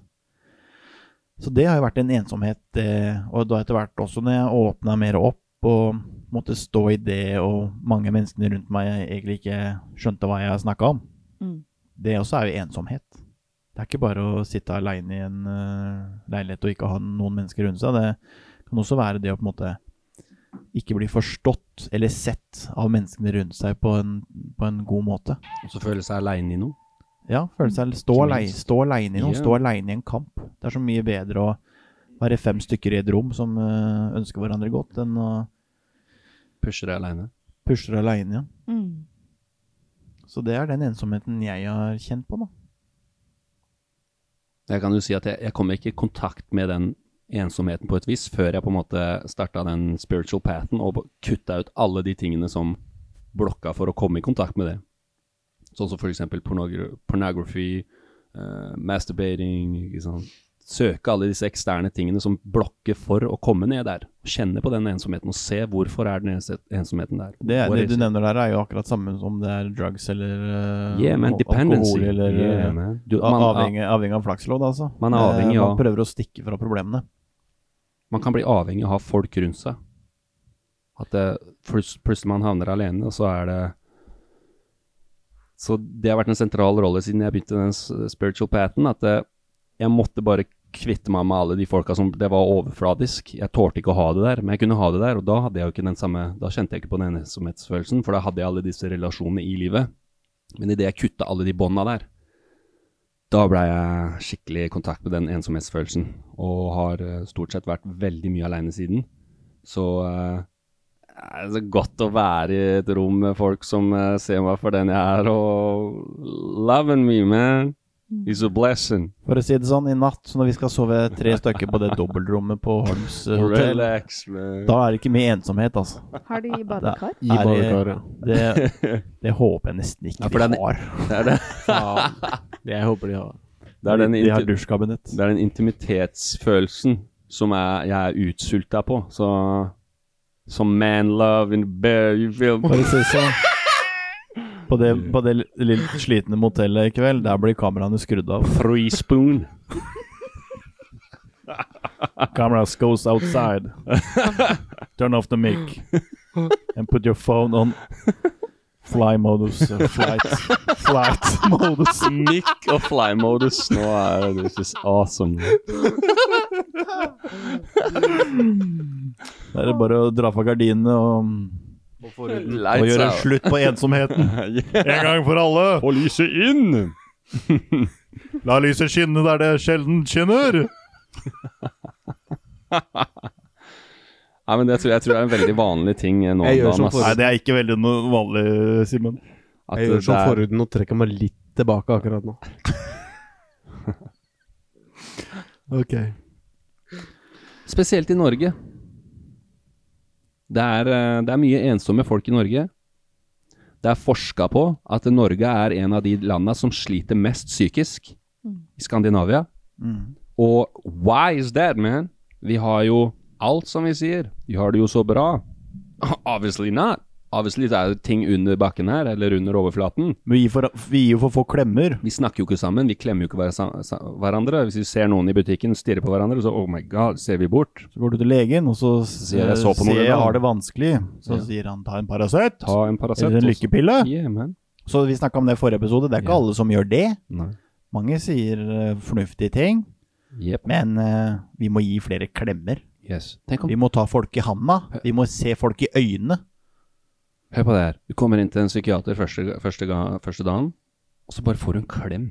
[SPEAKER 2] Så det har jo vært en ensomhet, eh, og da etter hvert også når jeg åpna mer opp og måtte stå i det, og mange menneskene rundt meg egentlig ikke skjønte hva jeg snakka om.
[SPEAKER 7] Mm.
[SPEAKER 2] Det også er jo ensomhet. Det er ikke bare å sitte aleine i en eh, leilighet og ikke ha noen mennesker rundt seg. Det kan også være det å på en måte ikke bli forstått eller sett av menneskene rundt seg på en, på en god måte.
[SPEAKER 4] Og så føle seg aleine i noe.
[SPEAKER 2] Ja, føle seg Stå
[SPEAKER 4] Ikke
[SPEAKER 2] alei-
[SPEAKER 4] minst.
[SPEAKER 2] stå aleine i noe,
[SPEAKER 4] Ja.
[SPEAKER 2] stå aleine i en kamp. Det er så mye bedre å være fem stykker i et rom som eh, ønsker hverandre godt, enn å
[SPEAKER 4] Pushe det aleine.
[SPEAKER 2] pushe aleine. Ja.
[SPEAKER 7] Mm.
[SPEAKER 2] Så det er den ensomheten jeg har kjent på, da.
[SPEAKER 4] Jeg kan jo si at jeg, jeg kom ikke i kontakt med den ensomheten på et vis før jeg på en måte starta den spiritual pathen og b- kutta ut alle de tingene som blokka for å komme i kontakt med det. Sånn som f.eks. pornography, eh, masturbating ikke sant? Søke alle disse eksterne tingene som blokker for å komme ned der. Kjenne på den ensomheten og se hvorfor er den ense- ensomheten der.
[SPEAKER 2] Det, er,
[SPEAKER 4] Hvor
[SPEAKER 2] det du
[SPEAKER 4] er-
[SPEAKER 2] nevner der, er jo akkurat samme som det er drugs eller eh,
[SPEAKER 4] Yeah, man,
[SPEAKER 2] al-
[SPEAKER 4] dependency.
[SPEAKER 2] alkohol eller
[SPEAKER 4] Yeah,
[SPEAKER 2] eh,
[SPEAKER 4] man. Du,
[SPEAKER 2] a-
[SPEAKER 4] man,
[SPEAKER 2] avhengig, avhengig av flakslodd, altså.
[SPEAKER 4] Man er
[SPEAKER 2] Eh,
[SPEAKER 4] avhengig av-
[SPEAKER 2] Man prøver å stikke fra problemene.
[SPEAKER 4] Man kan bli avhengig av å ha folk rundt seg. At det, pluts- plutselig man havner alene, og så er det Så det har vært en sentral rolle siden jeg begynte den s- spiritual paten, at eh, jeg måtte bare kvitte meg med alle de folka som Det var overfladisk. Jeg tålte ikke å ha det der, men jeg kunne ha det der, og da hadde jeg jo ikke den samme Da kjente jeg ikke på den ensomhetsfølelsen, for da hadde jeg alle disse relasjonene i livet. Men idet jeg kutta alle de bånda der, da blei jeg skikkelig i kontakt med den ensomhetsfølelsen, og har eh, stort sett vært veldig mye aleine siden. Så eh, er det er godt å være i et rom med folk som eh, ser meg for den jeg er, og loving me, man. He's a blessing.
[SPEAKER 2] For å si det sånn, i natt, så når vi skal sove tre stykker på det dobbeltrommet på Holms eh, hotell
[SPEAKER 4] Relax, man.
[SPEAKER 2] Da er det ikke mye ensomhet, altså.
[SPEAKER 7] Har de badekar?
[SPEAKER 5] I badekar, ja.
[SPEAKER 2] Det, det håper jeg nesten ikke
[SPEAKER 4] Ja, for den-
[SPEAKER 2] de har.
[SPEAKER 4] Det er, det,
[SPEAKER 5] Det jeg håper de har.
[SPEAKER 4] det er den
[SPEAKER 2] de har
[SPEAKER 4] inti-
[SPEAKER 2] dusjkabinett.
[SPEAKER 4] Det er den intimitetsfølelsen som er, jeg er utsulta på. Så Som man love in bear you feel
[SPEAKER 2] Bare si sånn. På det, på det lille slitne motellet i kveld, der blir kameraene skrudd av.
[SPEAKER 4] Three spoon.
[SPEAKER 2] Cameras goes outside. Turn off the mic. And put your phone on fly modus. uh, Flight. Flight modus.
[SPEAKER 4] Mic og fly-modus. Nå er det just awesome.
[SPEAKER 2] Da er det bare å dra fra gardinene og, og
[SPEAKER 4] Lights
[SPEAKER 2] gjøre
[SPEAKER 4] out.
[SPEAKER 2] slutt på ensomheten. En gang for alle!
[SPEAKER 8] Og lyset inn!
[SPEAKER 2] La lyset skinne der det sjelden skinner!
[SPEAKER 4] Nei, men det tror, jeg tror det er en veldig vanlig ting eh, nå
[SPEAKER 5] Jeg gjør
[SPEAKER 4] om
[SPEAKER 5] som
[SPEAKER 4] dagen.
[SPEAKER 2] Nei,
[SPEAKER 4] ass.
[SPEAKER 2] det er ikke veldig noe vanlig, Simen.
[SPEAKER 4] At
[SPEAKER 5] Jeg gjør
[SPEAKER 4] det
[SPEAKER 5] som
[SPEAKER 4] er-
[SPEAKER 5] forhuden og trekker meg litt tilbake akkurat nå.
[SPEAKER 2] Ok.
[SPEAKER 4] Spesielt i Norge. Det er, eh, det er mye ensomme folk i Norge. Det er forska på at Norge er en av de landa som sliter mest psykisk i Skandinavia.
[SPEAKER 5] Mm.
[SPEAKER 4] Og why is that, man? Vi har jo alt, som vi sier. Vi har det jo så bra. Obviously not. Obviously det er jo ting under bakken her, eller under overflaten.
[SPEAKER 2] Men vi gir, for, vi gir jo for få klemmer.
[SPEAKER 4] Vi snakker jo ikke sammen, vi klemmer jo ikke hver- sa- sa- hverandre. Hvis vi ser noen i butikken stirre på hverandre, så oh my god, ser vi bort.
[SPEAKER 2] Så går du til legen, og så
[SPEAKER 4] sier jeg, jeg så på noe i
[SPEAKER 2] jeg
[SPEAKER 4] dag.
[SPEAKER 2] Eh, har det vanskelig. Så
[SPEAKER 4] Ja.
[SPEAKER 2] sier han ta en Paracet.
[SPEAKER 4] Ta en Paracet.
[SPEAKER 2] Eller en
[SPEAKER 4] og så-
[SPEAKER 2] lykkepille.
[SPEAKER 4] Yeah, man.
[SPEAKER 2] Så vi snakka om det i forrige episode. Det er ikke
[SPEAKER 4] Ja.
[SPEAKER 2] alle som gjør det.
[SPEAKER 4] Nei.
[SPEAKER 2] Mange sier eh, fornuftige ting,
[SPEAKER 4] Jepp.
[SPEAKER 2] men eh, vi må gi flere klemmer.
[SPEAKER 4] Yes. Tenk om
[SPEAKER 2] Vi må ta folk i handa. Vi må se folk i øynene.
[SPEAKER 4] Hør på det her. Du kommer inn til en psykiater første, første, ga- første dagen, og så bare får du en klem.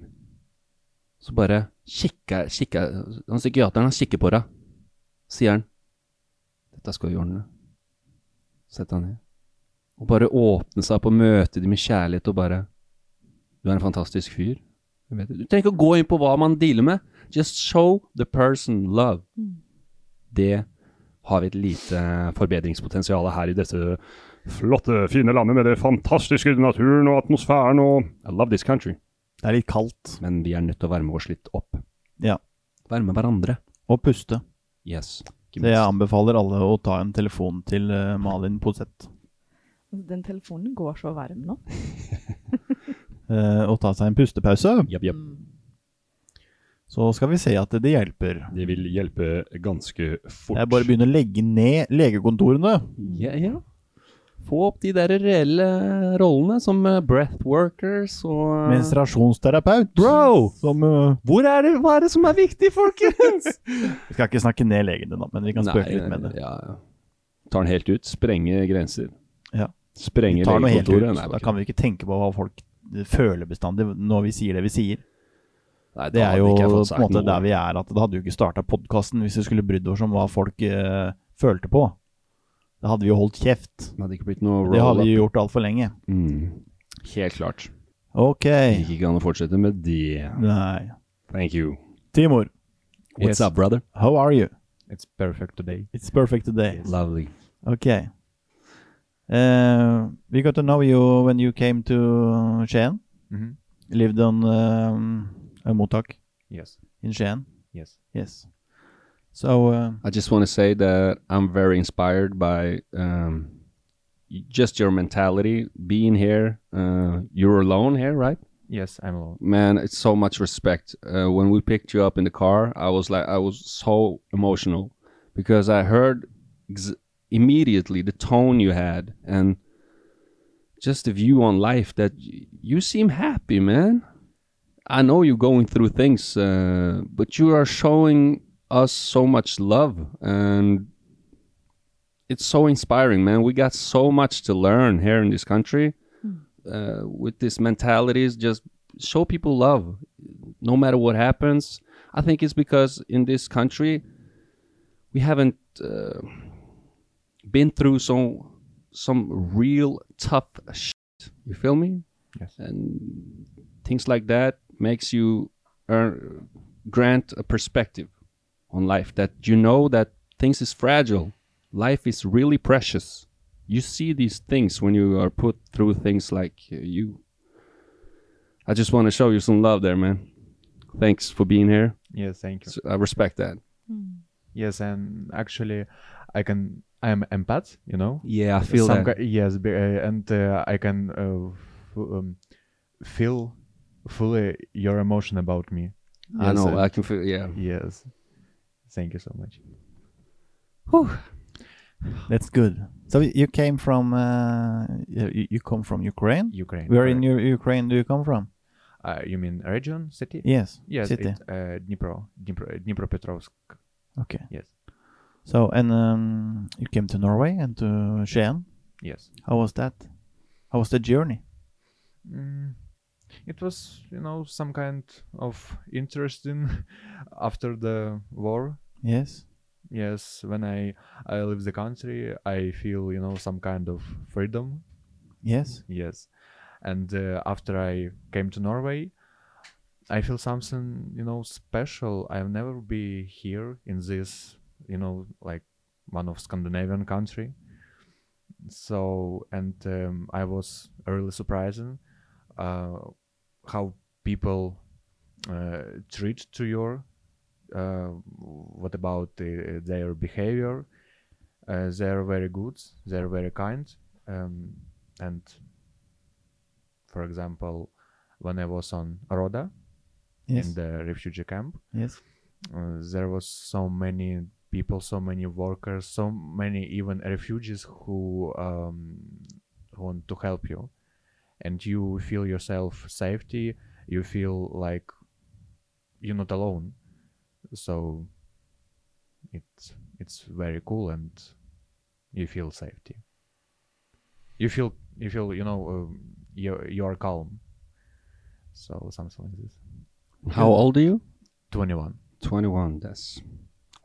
[SPEAKER 4] Så bare kikker, kikker han Psykiateren han kikker på deg. Sier han 'Dette skal vi ordne'. Sett deg ned. Og bare åpne seg opp og møte dem med kjærlighet og bare 'Du er en fantastisk fyr'. Jeg vet det. Du trenger ikke å gå inn på hva man dealer med. Just show the person love. Det har vi et lite forbedringspotensial her i dette
[SPEAKER 8] Flotte, fine landet med det fantastiske naturen og atmosfæren og
[SPEAKER 4] I love this country.
[SPEAKER 2] Det er litt kaldt.
[SPEAKER 4] Men vi er nødt til å varme oss litt opp.
[SPEAKER 2] Ja.
[SPEAKER 4] Varme hverandre.
[SPEAKER 2] Og puste.
[SPEAKER 4] Yes. Ikke
[SPEAKER 2] Så jeg
[SPEAKER 4] minst.
[SPEAKER 2] anbefaler alle å ta en telefon til eh, Malin Poseth.
[SPEAKER 7] Altså, Den telefonen går så varm nå.
[SPEAKER 2] eh, og ta seg en pustepause.
[SPEAKER 4] Japp, japp.
[SPEAKER 2] Så skal vi se at det hjelper.
[SPEAKER 8] Det vil hjelpe ganske fort.
[SPEAKER 2] Jeg bare begynner å legge ned legekontorene.
[SPEAKER 4] Ja, ja. Få opp de der reelle rollene som eh, breathworkers og eh,
[SPEAKER 2] Menstruasjonsterapeut.
[SPEAKER 4] Bro!
[SPEAKER 2] Som eh,
[SPEAKER 4] Hvor er det, Hva er det som er viktig, folkens?
[SPEAKER 2] Vi skal ikke snakke ned legene, da, men vi kan spøke litt med det.
[SPEAKER 4] Ja, ja. Tar den helt ut. Sprenge grenser.
[SPEAKER 2] Ja. Vi
[SPEAKER 4] Sprenge
[SPEAKER 2] tar noe helt ut.
[SPEAKER 4] legekontoret. Nei,
[SPEAKER 2] da
[SPEAKER 4] bare
[SPEAKER 2] kan vi ikke tenke på hva folk føler bestandig når vi sier det vi sier.
[SPEAKER 4] kødd. Nei, da
[SPEAKER 2] Det er
[SPEAKER 4] hadde
[SPEAKER 2] jo på
[SPEAKER 4] ikke jeg fått
[SPEAKER 2] en
[SPEAKER 4] sagt
[SPEAKER 2] måte
[SPEAKER 4] noe.
[SPEAKER 2] der vi er, at det hadde jo ikke starta podkasten hvis vi skulle brydd oss om hva folk eh, følte på. Da hadde vi jo holdt kjeft.
[SPEAKER 4] Det hadde ikke blitt noe
[SPEAKER 2] Det har
[SPEAKER 4] roll-up.
[SPEAKER 2] vi jo gjort altfor lenge.
[SPEAKER 4] Mm. Helt klart.
[SPEAKER 2] Ok.
[SPEAKER 4] Det gikk ikke an å fortsette med det.
[SPEAKER 2] Nei.
[SPEAKER 4] Thank you.
[SPEAKER 2] Timor,
[SPEAKER 4] What's up, brother?
[SPEAKER 2] how are you?
[SPEAKER 6] It's perfect today.
[SPEAKER 2] It's perfect today.
[SPEAKER 4] Lovely.
[SPEAKER 2] Ok. Uh, we got to know you when you came to Skien.
[SPEAKER 6] Mhm.
[SPEAKER 2] Lived on um, a mottak
[SPEAKER 6] Yes.
[SPEAKER 2] in Skien.
[SPEAKER 6] Yes.
[SPEAKER 2] Yes. So, uh,
[SPEAKER 4] I just want to say that I'm very inspired by um, y- just your mentality, being here. Uh, you're alone here, right?
[SPEAKER 6] Yes, I'm alone.
[SPEAKER 4] Man, it's so much respect. Uh, when we picked you up in the car, I was like, I was so emotional because I heard ex- immediately the tone you had and just the view on life that y- you seem happy, man. I know you're going through things, uh, but you are showing us so much love and it's so inspiring, man. We got so much to learn here in this country uh, with these mentalities. Just show people love, no matter what happens. I think it's because in this country we haven't uh, been through some some real tough shit. You feel me?
[SPEAKER 6] Yes.
[SPEAKER 4] And things like that makes you uh, grant a perspective on life that you know that things is fragile life is really precious you see these things when you are put through things like uh, you i just want to show you some love there man thanks for being here
[SPEAKER 5] Yes, thank you.
[SPEAKER 4] So i respect that
[SPEAKER 5] Yes, and actually, I can. I am empath, you know.
[SPEAKER 4] Yeah, I feel that.
[SPEAKER 5] ki- yes, be, uh, and uh, I can uh, f- um, feel fully your emotion about me.
[SPEAKER 4] i
[SPEAKER 5] Yes,
[SPEAKER 4] know
[SPEAKER 5] uh,
[SPEAKER 4] i can feel yeah
[SPEAKER 5] Yes, thank you so much.
[SPEAKER 2] That's good. So you came from uh, you, you come from Ukraine.
[SPEAKER 5] Ukraine.
[SPEAKER 2] Where in
[SPEAKER 5] correct.
[SPEAKER 2] U- Ukraine do you come from?
[SPEAKER 5] Uh, you mean region, city?
[SPEAKER 2] Yes.
[SPEAKER 5] Yes,
[SPEAKER 2] City.
[SPEAKER 5] It, uh, Dnipro, Dnipro, Dnipropetrovsk.
[SPEAKER 2] okay.
[SPEAKER 5] Yes,
[SPEAKER 2] So and um, you came to Norway and to Skien.
[SPEAKER 5] yes.
[SPEAKER 2] How was that? How was the journey?
[SPEAKER 5] Mm, it was, you know, some kind of interesting after the war.
[SPEAKER 2] Yes.
[SPEAKER 5] Yes, when I I leave the country, I feel, you know, some kind of freedom.
[SPEAKER 2] Yes.
[SPEAKER 5] Yes, and uh, after I came to Norway, I feel something, you know, special. I've never be here in this, you know, like one of Scandinavian country. So and um, I was really surprising uh, how people uh, treat to your uh, what about uh, their behavior uh, they're very good they're very kind um, and for example when i was on roda
[SPEAKER 2] Yes.
[SPEAKER 5] in the refugee camp
[SPEAKER 2] yes.
[SPEAKER 5] uh, there was so many people so many workers so many even refugees who um, want to help you and you feel yourself safety you feel like you're not alone so it's it's very cool and you feel safety you feel you feel you know um, you you are calm so something like this
[SPEAKER 4] how old are you
[SPEAKER 5] 21
[SPEAKER 4] 21 that's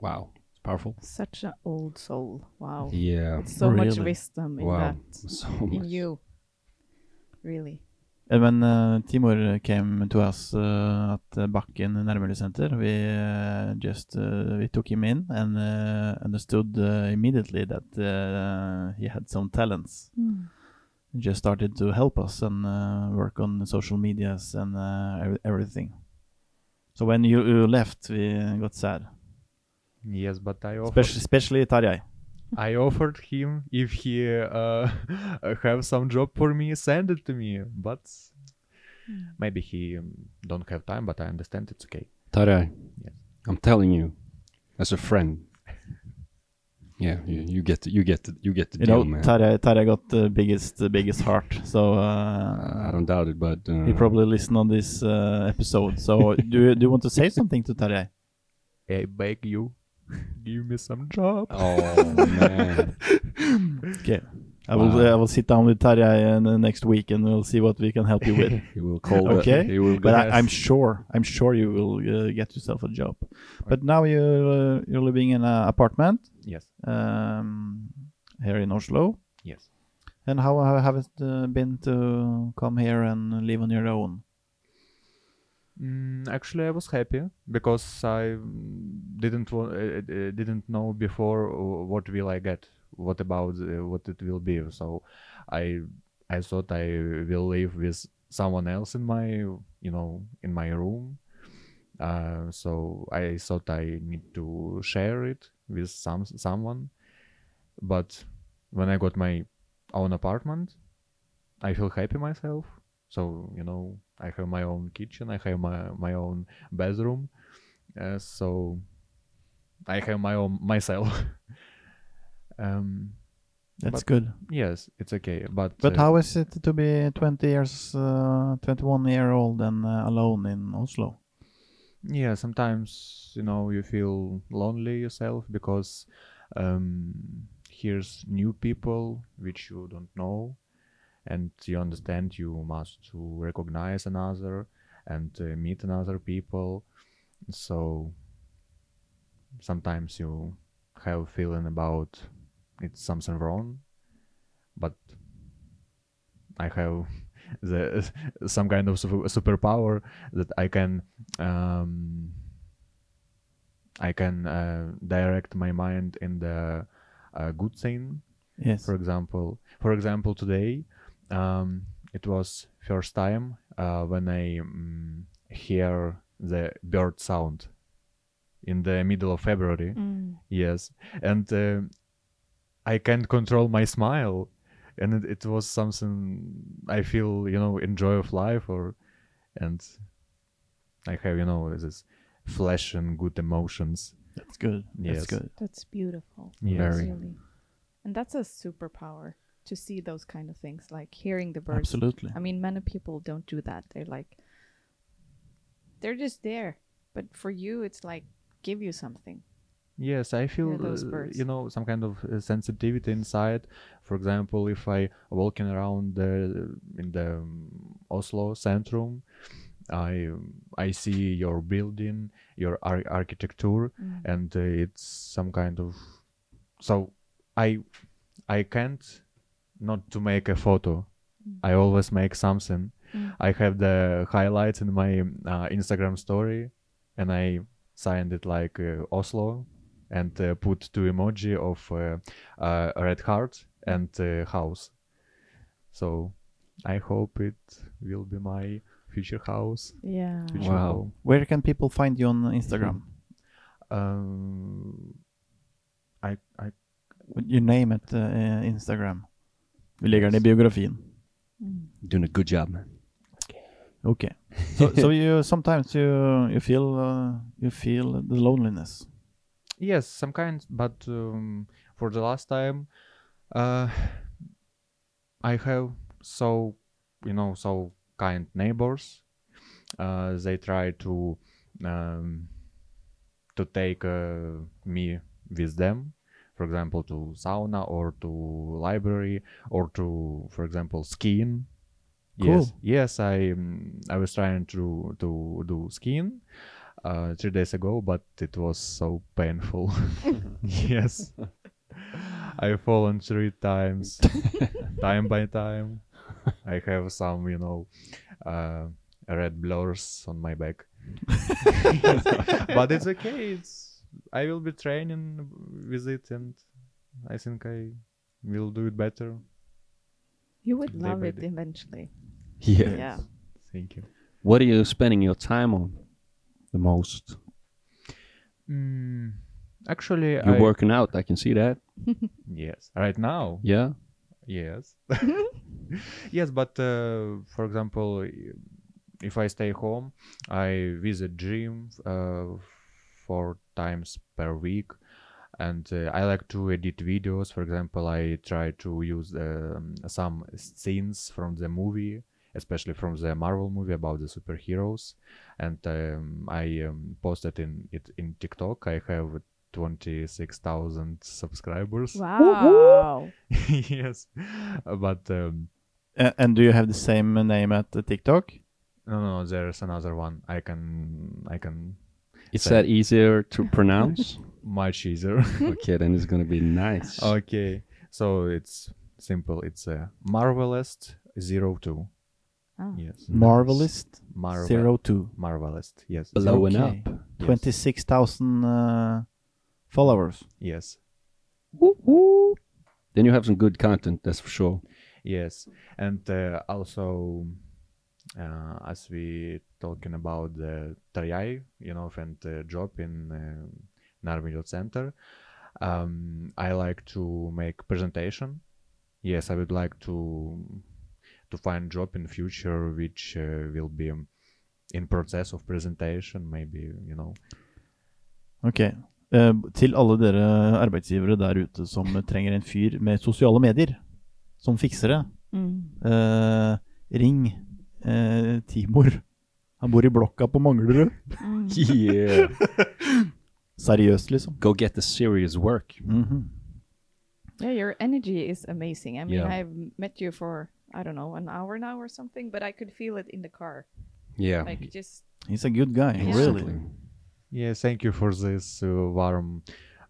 [SPEAKER 4] wow it's powerful
[SPEAKER 9] Such an old soul. Wow.
[SPEAKER 4] yeah
[SPEAKER 9] It's so much
[SPEAKER 2] Really?
[SPEAKER 9] wisdom in
[SPEAKER 4] wow
[SPEAKER 9] that.
[SPEAKER 4] so
[SPEAKER 9] In
[SPEAKER 4] much
[SPEAKER 9] you. Really.
[SPEAKER 2] And when uh, Timur came to us uh, at uh, Bakken Nærmiljø Center, we uh, just uh, we took him in and uh, understood uh, immediately that uh, he had some talents. He just started to help us and uh, work on the social medias and uh, ev- everything. So when you, you left, we got sad,
[SPEAKER 5] yes but i offered,
[SPEAKER 2] especially, especially Tarjei.
[SPEAKER 5] i offered him if he uh, have some job for me send it to me but maybe he um, don't have time but i understand it's okay
[SPEAKER 4] Tarjei,
[SPEAKER 5] Yes.
[SPEAKER 4] I'm telling you, as a friend. Yeah, you, you get the, you get the, you get the
[SPEAKER 2] You
[SPEAKER 4] deal,
[SPEAKER 2] know,
[SPEAKER 4] man.
[SPEAKER 2] Tarjei Tarjei got the biggest the biggest heart. So. Uh,
[SPEAKER 4] I don't doubt it, but uh,
[SPEAKER 2] He
[SPEAKER 5] Mm.
[SPEAKER 2] probably listen on this uh, episode. So do you, do you want to say something to Tarjei?
[SPEAKER 5] i beg you give me some job
[SPEAKER 4] Oh man,
[SPEAKER 2] Okay. I will uh, I will sit down with Tarjei and, uh, next week and we'll see what we can help you with.
[SPEAKER 4] he will call.
[SPEAKER 2] Okay.
[SPEAKER 4] the, he will go.
[SPEAKER 2] but I, I'm sure I'm sure you will uh, get yourself a job. But now you uh, you're living in an apartment
[SPEAKER 5] yes
[SPEAKER 2] um, here in Oslo.
[SPEAKER 5] yes
[SPEAKER 2] And how how have it uh, been to come here and live on your own?
[SPEAKER 5] Mm, actually, I was happy because I mm, didn't wa- uh, uh, didn't know before uh, what will I get, what about uh, what it will be. So, I I thought I will live with someone else in my you know in my room. Uh, so I thought I need to share it with some someone, but when I got my own apartment, I feel happy myself. So you know, I have my own kitchen, I have my my own bathroom, uh, so I have my own myself. um,
[SPEAKER 2] That's
[SPEAKER 5] But-
[SPEAKER 2] good.
[SPEAKER 5] yes, it's okay, but
[SPEAKER 2] But
[SPEAKER 5] uh,
[SPEAKER 2] how is it to be 20 years, uh, 21 year old and uh, alone in Oslo?
[SPEAKER 5] yeah, sometimes you know you feel lonely yourself because um, here's new people which you don't know, and you understand you must to recognize another and uh, meet another people. So sometimes you have feeling about it's something wrong, but I have the some kind of super, superpower that I can um, I can uh, direct my mind in the uh, good thing.
[SPEAKER 2] Yes.
[SPEAKER 5] For example, for example, today um, it was first time uh, when I mm, hear the bird sound in the middle of February.
[SPEAKER 10] Mm.
[SPEAKER 5] Yes, and uh, I can't control my smile, and it, it was something I feel you know enjoy of life or, and I have you know this flash and good emotions.
[SPEAKER 2] That's good.
[SPEAKER 5] Yes.
[SPEAKER 2] That's good.
[SPEAKER 10] That's beautiful.
[SPEAKER 5] Yes.
[SPEAKER 10] That's
[SPEAKER 5] Very.
[SPEAKER 10] really- And that's a superpower to see those kind of things, like hearing the birds.
[SPEAKER 2] Absolutely.
[SPEAKER 10] I mean, many people don't do that. They're like, they're just there. But for you, it's like, give you something.
[SPEAKER 5] Yes, I feel
[SPEAKER 10] those
[SPEAKER 5] uh,
[SPEAKER 10] birds.
[SPEAKER 5] you know some kind of uh, sensitivity inside. For example, if I walking around the, in the um, Oslo Centrum, I um, I see your building, your ar- architecture, and uh, it's some kind of so I I can't not to make a photo. I always make something. I have the highlights in my uh, Instagram story, and I signed it like uh, Oslo, and uh, put two emoji of uh, uh, red heart and uh, house. So I hope it will be my future house.
[SPEAKER 10] Yeah.
[SPEAKER 5] Future
[SPEAKER 4] Wow.
[SPEAKER 5] home.
[SPEAKER 2] Where can people find you on Instagram?
[SPEAKER 5] Um, I I
[SPEAKER 2] You name it, uh, eh, Instagram. Vi legger den i biografien.
[SPEAKER 4] Doing a good job, man.
[SPEAKER 2] Okay. So, so you sometimes you you feel uh, you feel the loneliness.
[SPEAKER 5] Yes, some kind, but um, for the last time, uh, I have so you know so kind neighbors. Uh, they try to um, to take uh, me with them, for example, to sauna or to library or to, for example, skiing. Yes,
[SPEAKER 2] Cool.
[SPEAKER 5] yes, I um, I was trying to to do skiing uh, three days ago, but it was so painful. yes, I've fallen three times, time by time. I have some, you know, uh, red blurs on my back, but it's okay. It's I will be training with it, and I think I will do it better.
[SPEAKER 10] You would
[SPEAKER 5] Day
[SPEAKER 10] love
[SPEAKER 5] by
[SPEAKER 10] it
[SPEAKER 5] day.
[SPEAKER 10] eventually.
[SPEAKER 4] Yeah.
[SPEAKER 10] Yeah.
[SPEAKER 5] Thank you.
[SPEAKER 4] What are you spending your time on the most?
[SPEAKER 5] Mm, actually,
[SPEAKER 4] You're
[SPEAKER 5] I,
[SPEAKER 4] working out. I can see that.
[SPEAKER 5] Yes, right now.
[SPEAKER 4] Yeah.
[SPEAKER 5] Yes. yes, but uh, for example, i- if I stay home, I visit gym uh, four times per week, and uh, I like to edit videos. For example, I try to use um, some scenes from the movie, especially from the Marvel movie about the superheroes, and um, I um, posted in it in TikTok. I have twenty six thousand subscribers
[SPEAKER 10] Wow.
[SPEAKER 5] yes Uh, but um,
[SPEAKER 2] A- and do you have the same name at the TikTok?
[SPEAKER 5] no no there's another one i can i can
[SPEAKER 4] It's
[SPEAKER 5] Same.
[SPEAKER 4] that easier to pronounce?
[SPEAKER 5] much easier
[SPEAKER 4] okay, then it's going to be nice.
[SPEAKER 5] okay so it's simple it's a marvelous zero two
[SPEAKER 10] Ah.
[SPEAKER 5] yes
[SPEAKER 2] Marvelist
[SPEAKER 5] Marvel-
[SPEAKER 2] zero two.
[SPEAKER 5] marvelous yes
[SPEAKER 4] Blowing
[SPEAKER 2] Okay.
[SPEAKER 4] up.
[SPEAKER 5] Yes.
[SPEAKER 2] Twenty six thousand uh, followers.
[SPEAKER 5] yes
[SPEAKER 4] Then you have some good content, that's for sure.
[SPEAKER 5] yes and uh, also uh, as we talking about the Tarjai, you know, and uh, job in uh, Narmidal Center, um, I like to make presentation. Yes, I would like to to find job in future which uh, will be um, in process of presentation. Maybe you know.
[SPEAKER 2] Ok. Eh, til alle dere arbeidsgivere der ute som trenger en fyr med sosiale medier som fiksere,
[SPEAKER 10] Mm.
[SPEAKER 2] eh, ring eh, Timor. Han bor i blokka på Manglerud.
[SPEAKER 4] Yeah.
[SPEAKER 2] Seriøst, liksom.
[SPEAKER 4] Go get the serious work.
[SPEAKER 2] Mhm.
[SPEAKER 10] Yeah, your energy is amazing. I mean,
[SPEAKER 4] Yeah.
[SPEAKER 10] I've met you for, I don't know, an hour now or something, but I could feel it in the car.
[SPEAKER 4] Yeah.
[SPEAKER 10] Like, just,
[SPEAKER 2] He's a good guy, really.
[SPEAKER 4] Exactly.
[SPEAKER 5] Yeah, thank you for these uh, warm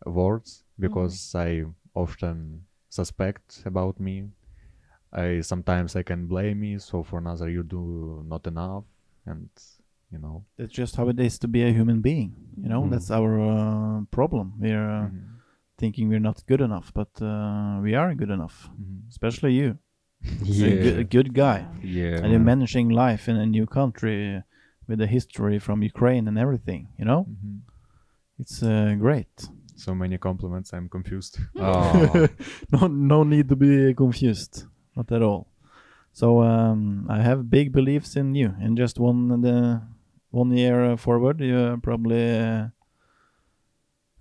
[SPEAKER 5] words because I often suspect about me.
[SPEAKER 6] I sometimes I can blame me. So for another, you do not enough, and you know.
[SPEAKER 2] That's just how it is to be a human being. You know,
[SPEAKER 4] Hmm.
[SPEAKER 6] Mm.
[SPEAKER 2] that's our uh, problem. We're uh,
[SPEAKER 4] Mm-hmm.
[SPEAKER 2] thinking we're not good enough, but uh, we are good enough. Especially you. You're a, good,
[SPEAKER 4] Mm-hmm. Yeah.
[SPEAKER 2] a good guy.
[SPEAKER 4] Yeah.
[SPEAKER 2] And you're managing life in a new country with a history from Ukraine and everything. You know,
[SPEAKER 4] Mm-hmm.
[SPEAKER 2] it's uh, great.
[SPEAKER 6] So many compliments. I'm confused.
[SPEAKER 4] Oh.
[SPEAKER 2] no, no need to be confused, not at all. So um, I have big beliefs in you. And just one uh, the one year uh, forward, you're probably uh,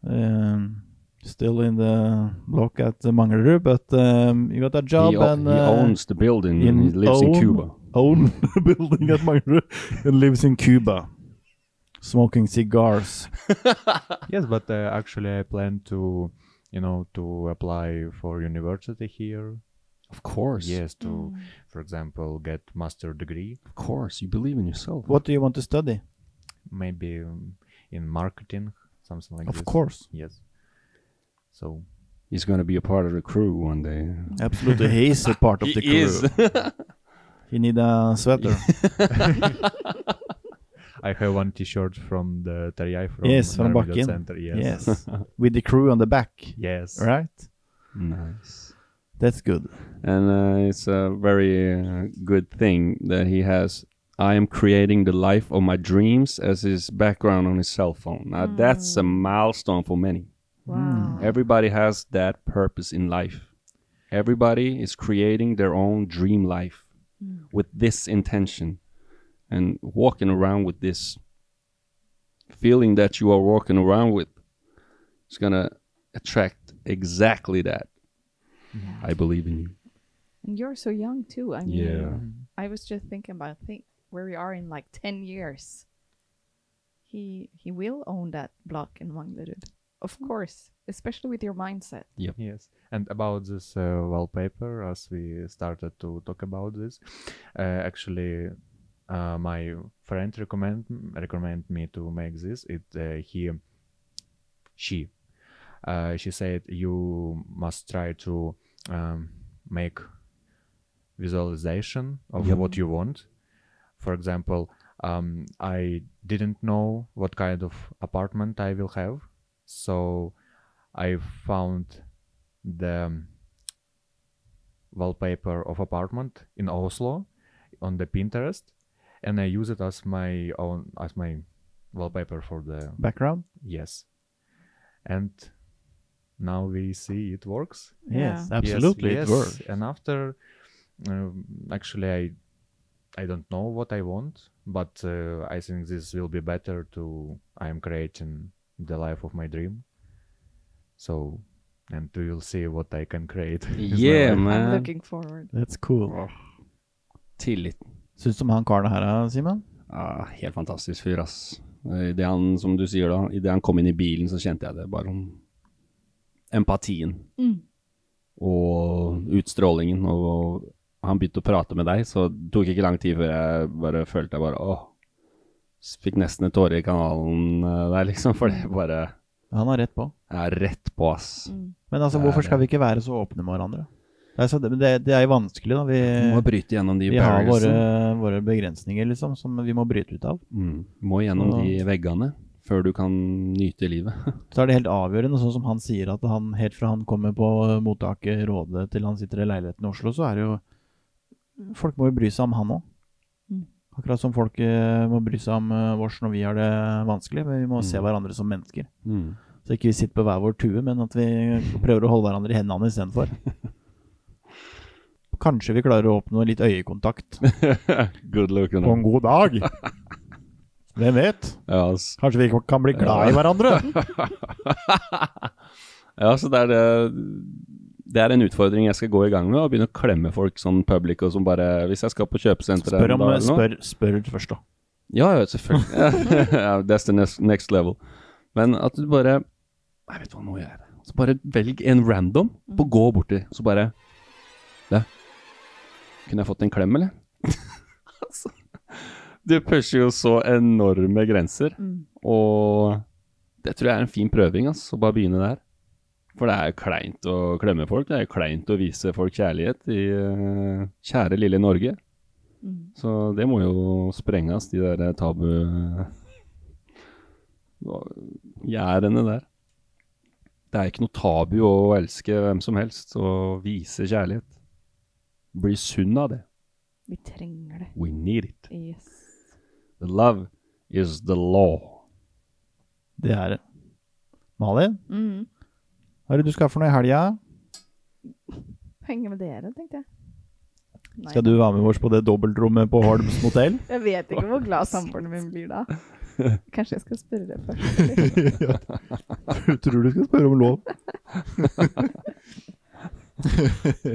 [SPEAKER 2] um, still in the block at the Mangarud, but um, you got a job
[SPEAKER 4] He o-
[SPEAKER 2] and
[SPEAKER 4] he
[SPEAKER 2] uh,
[SPEAKER 4] owns the building and he lives in Cuba.
[SPEAKER 2] Own the building at Mangarud and lives in Cuba, smoking cigars.
[SPEAKER 6] yes, but uh, actually, I plan to, you know, to apply for university here.
[SPEAKER 4] Of course.
[SPEAKER 6] Yes, to,
[SPEAKER 10] Mm.
[SPEAKER 6] for example, get master degree,
[SPEAKER 4] Of course. You believe in yourself.
[SPEAKER 2] What do you want to study?
[SPEAKER 6] maybe um, in marketing, something like
[SPEAKER 2] Of
[SPEAKER 6] this.
[SPEAKER 2] course.
[SPEAKER 6] Yes. So
[SPEAKER 4] He's going to be a part of the crew one day.
[SPEAKER 2] Absolutely, he is a part of the crew. He need a sweater.
[SPEAKER 6] I have one T-shirt from the Terjai from
[SPEAKER 2] yes, from
[SPEAKER 6] Narvik
[SPEAKER 2] Bakken.
[SPEAKER 6] Center. Yes.
[SPEAKER 2] yes, with the crew on the back.
[SPEAKER 6] Yes.
[SPEAKER 2] Right.
[SPEAKER 4] nice.
[SPEAKER 2] That's good.
[SPEAKER 4] And uh, it's a very uh, good thing that he has. I am creating the life of my dreams as his background on his cell phone. Now, that's a milestone for many.
[SPEAKER 7] Wow.
[SPEAKER 4] Everybody has that purpose in life. Everybody is creating their own dream life with this intention and walking around with this feeling that you are walking around with is going to attract exactly that. I believe in you.
[SPEAKER 7] And you're so young too. I mean,
[SPEAKER 4] Yeah.
[SPEAKER 7] I was just thinking about think where we are in like ten years. He he will own that block in Manglerud, of course, especially with your mindset.
[SPEAKER 6] Yes, and about this uh, wallpaper, as we started to talk about this, uh, actually, uh, my friend recommend recommend me to make this. It uh, he, she, uh, she said you must try to um, make visualization of what you want. For example, um, I didn't know what kind of apartment I will have, so I found the um, wallpaper of apartment in Oslo on the Pinterest, and I use it as my own as my wallpaper for the
[SPEAKER 2] Background.
[SPEAKER 6] yes. And now we see it works.
[SPEAKER 2] Yes,
[SPEAKER 7] Yeah.
[SPEAKER 6] Yes,
[SPEAKER 2] absolutely.
[SPEAKER 6] yes.
[SPEAKER 2] It works.
[SPEAKER 6] And after, um, actually, I I don't know what I want, but uh, I think this will be better. To I am creating the life of my dream. So, and we will see what I can create. with my
[SPEAKER 4] Yeah,
[SPEAKER 6] life.
[SPEAKER 7] I'm
[SPEAKER 4] man.
[SPEAKER 7] looking forward.
[SPEAKER 2] That's cool.
[SPEAKER 4] Tillit.
[SPEAKER 2] Syns du om han karen her, da, Simon?
[SPEAKER 4] Ah, helt fantastisk fyr, ass. Eh, I det han, som du sier da, i det han kom inn i bilen, så kjente jeg det. Bare om empatien. Og utstrålingen. Og, og han begynte å prate med deg, så det tok ikke lang tid før jeg bare følte jeg bare åh. Så Fikk nesten en tåre i kanalen eh, der, liksom. For det bare
[SPEAKER 2] Han har rett på.
[SPEAKER 4] er rett på, ass.
[SPEAKER 2] Men altså, hvorfor skal vi ikke være så åpne med hverandre? Altså, det, men det, det er jo vanskelig, da. Vi,
[SPEAKER 4] Må bryte gjennom de
[SPEAKER 2] Eh, vi har våre,
[SPEAKER 4] barriersene.
[SPEAKER 2] våre begrensninger, liksom, som vi må bryte ut av.
[SPEAKER 4] Mm. Må gjennom de veggene før du kan nyte livet.
[SPEAKER 2] Så er det helt avgjørende, sånn som han sier, at han helt fra han kommer på mottaket, Råde, til han sitter i leiligheten i Oslo, så er det jo Folk må jo bry seg om han òg. Akkurat som folk eh, må bry seg om eh, oss når vi har det vanskelig. Men vi må se hverandre som mennesker.
[SPEAKER 4] Mm.
[SPEAKER 2] Så ikke vi sitter på hver vår tue, men at vi prøver å holde hverandre i hendene istedenfor. Kanskje vi klarer å oppnå litt øyekontakt på
[SPEAKER 4] Good looking.
[SPEAKER 2] en god dag. Hvem vet?
[SPEAKER 4] Ja, ass.
[SPEAKER 2] Kanskje vi kan bli glad i hverandre.
[SPEAKER 4] Ja, så det er, det, det er en utfordring jeg skal gå i gang med, å begynne å klemme folk sånn public og som bare Hvis jeg skal på kjøpesenteret
[SPEAKER 2] Spør,
[SPEAKER 4] en
[SPEAKER 2] om,
[SPEAKER 4] dag eller noe-
[SPEAKER 2] spør, spør først, da.
[SPEAKER 4] Ja, ja, selvfølgelig. ja, that's the next, next level. Men at du bare Jeg vet hva, nå gjør jeg det. Så bare velg en random på gå borti, så bare Det. Kunne jeg fått en klem, eller? altså Du pusher jo så enorme grenser, og det tror jeg er en fin prøving, altså. Å bare begynne der. For det er jo kleint å klemme folk, det er jo kleint å vise folk kjærlighet i eh, kjære lille Norge. Så det må jo sprenges, de der tabu... Gjerdene der. Det er ikke noe tabu å elske hvem som helst og vise kjærlighet. Bli sunn av det.
[SPEAKER 7] Vi trenger det.
[SPEAKER 4] We need it.
[SPEAKER 7] Yes.
[SPEAKER 4] The love is the law.
[SPEAKER 2] Det er det. Malin,
[SPEAKER 7] Mm.
[SPEAKER 2] hva er det du skal for noe i helga?
[SPEAKER 7] Henge med dere, tenkte jeg. Nei.
[SPEAKER 2] Skal du være med oss på det dobbeltrommet på Holms motell?
[SPEAKER 7] Jeg vet ikke hvor glad samboeren min blir da. Kanskje jeg skal spørre deg først. eller?
[SPEAKER 2] Tror du skal spørre om lov?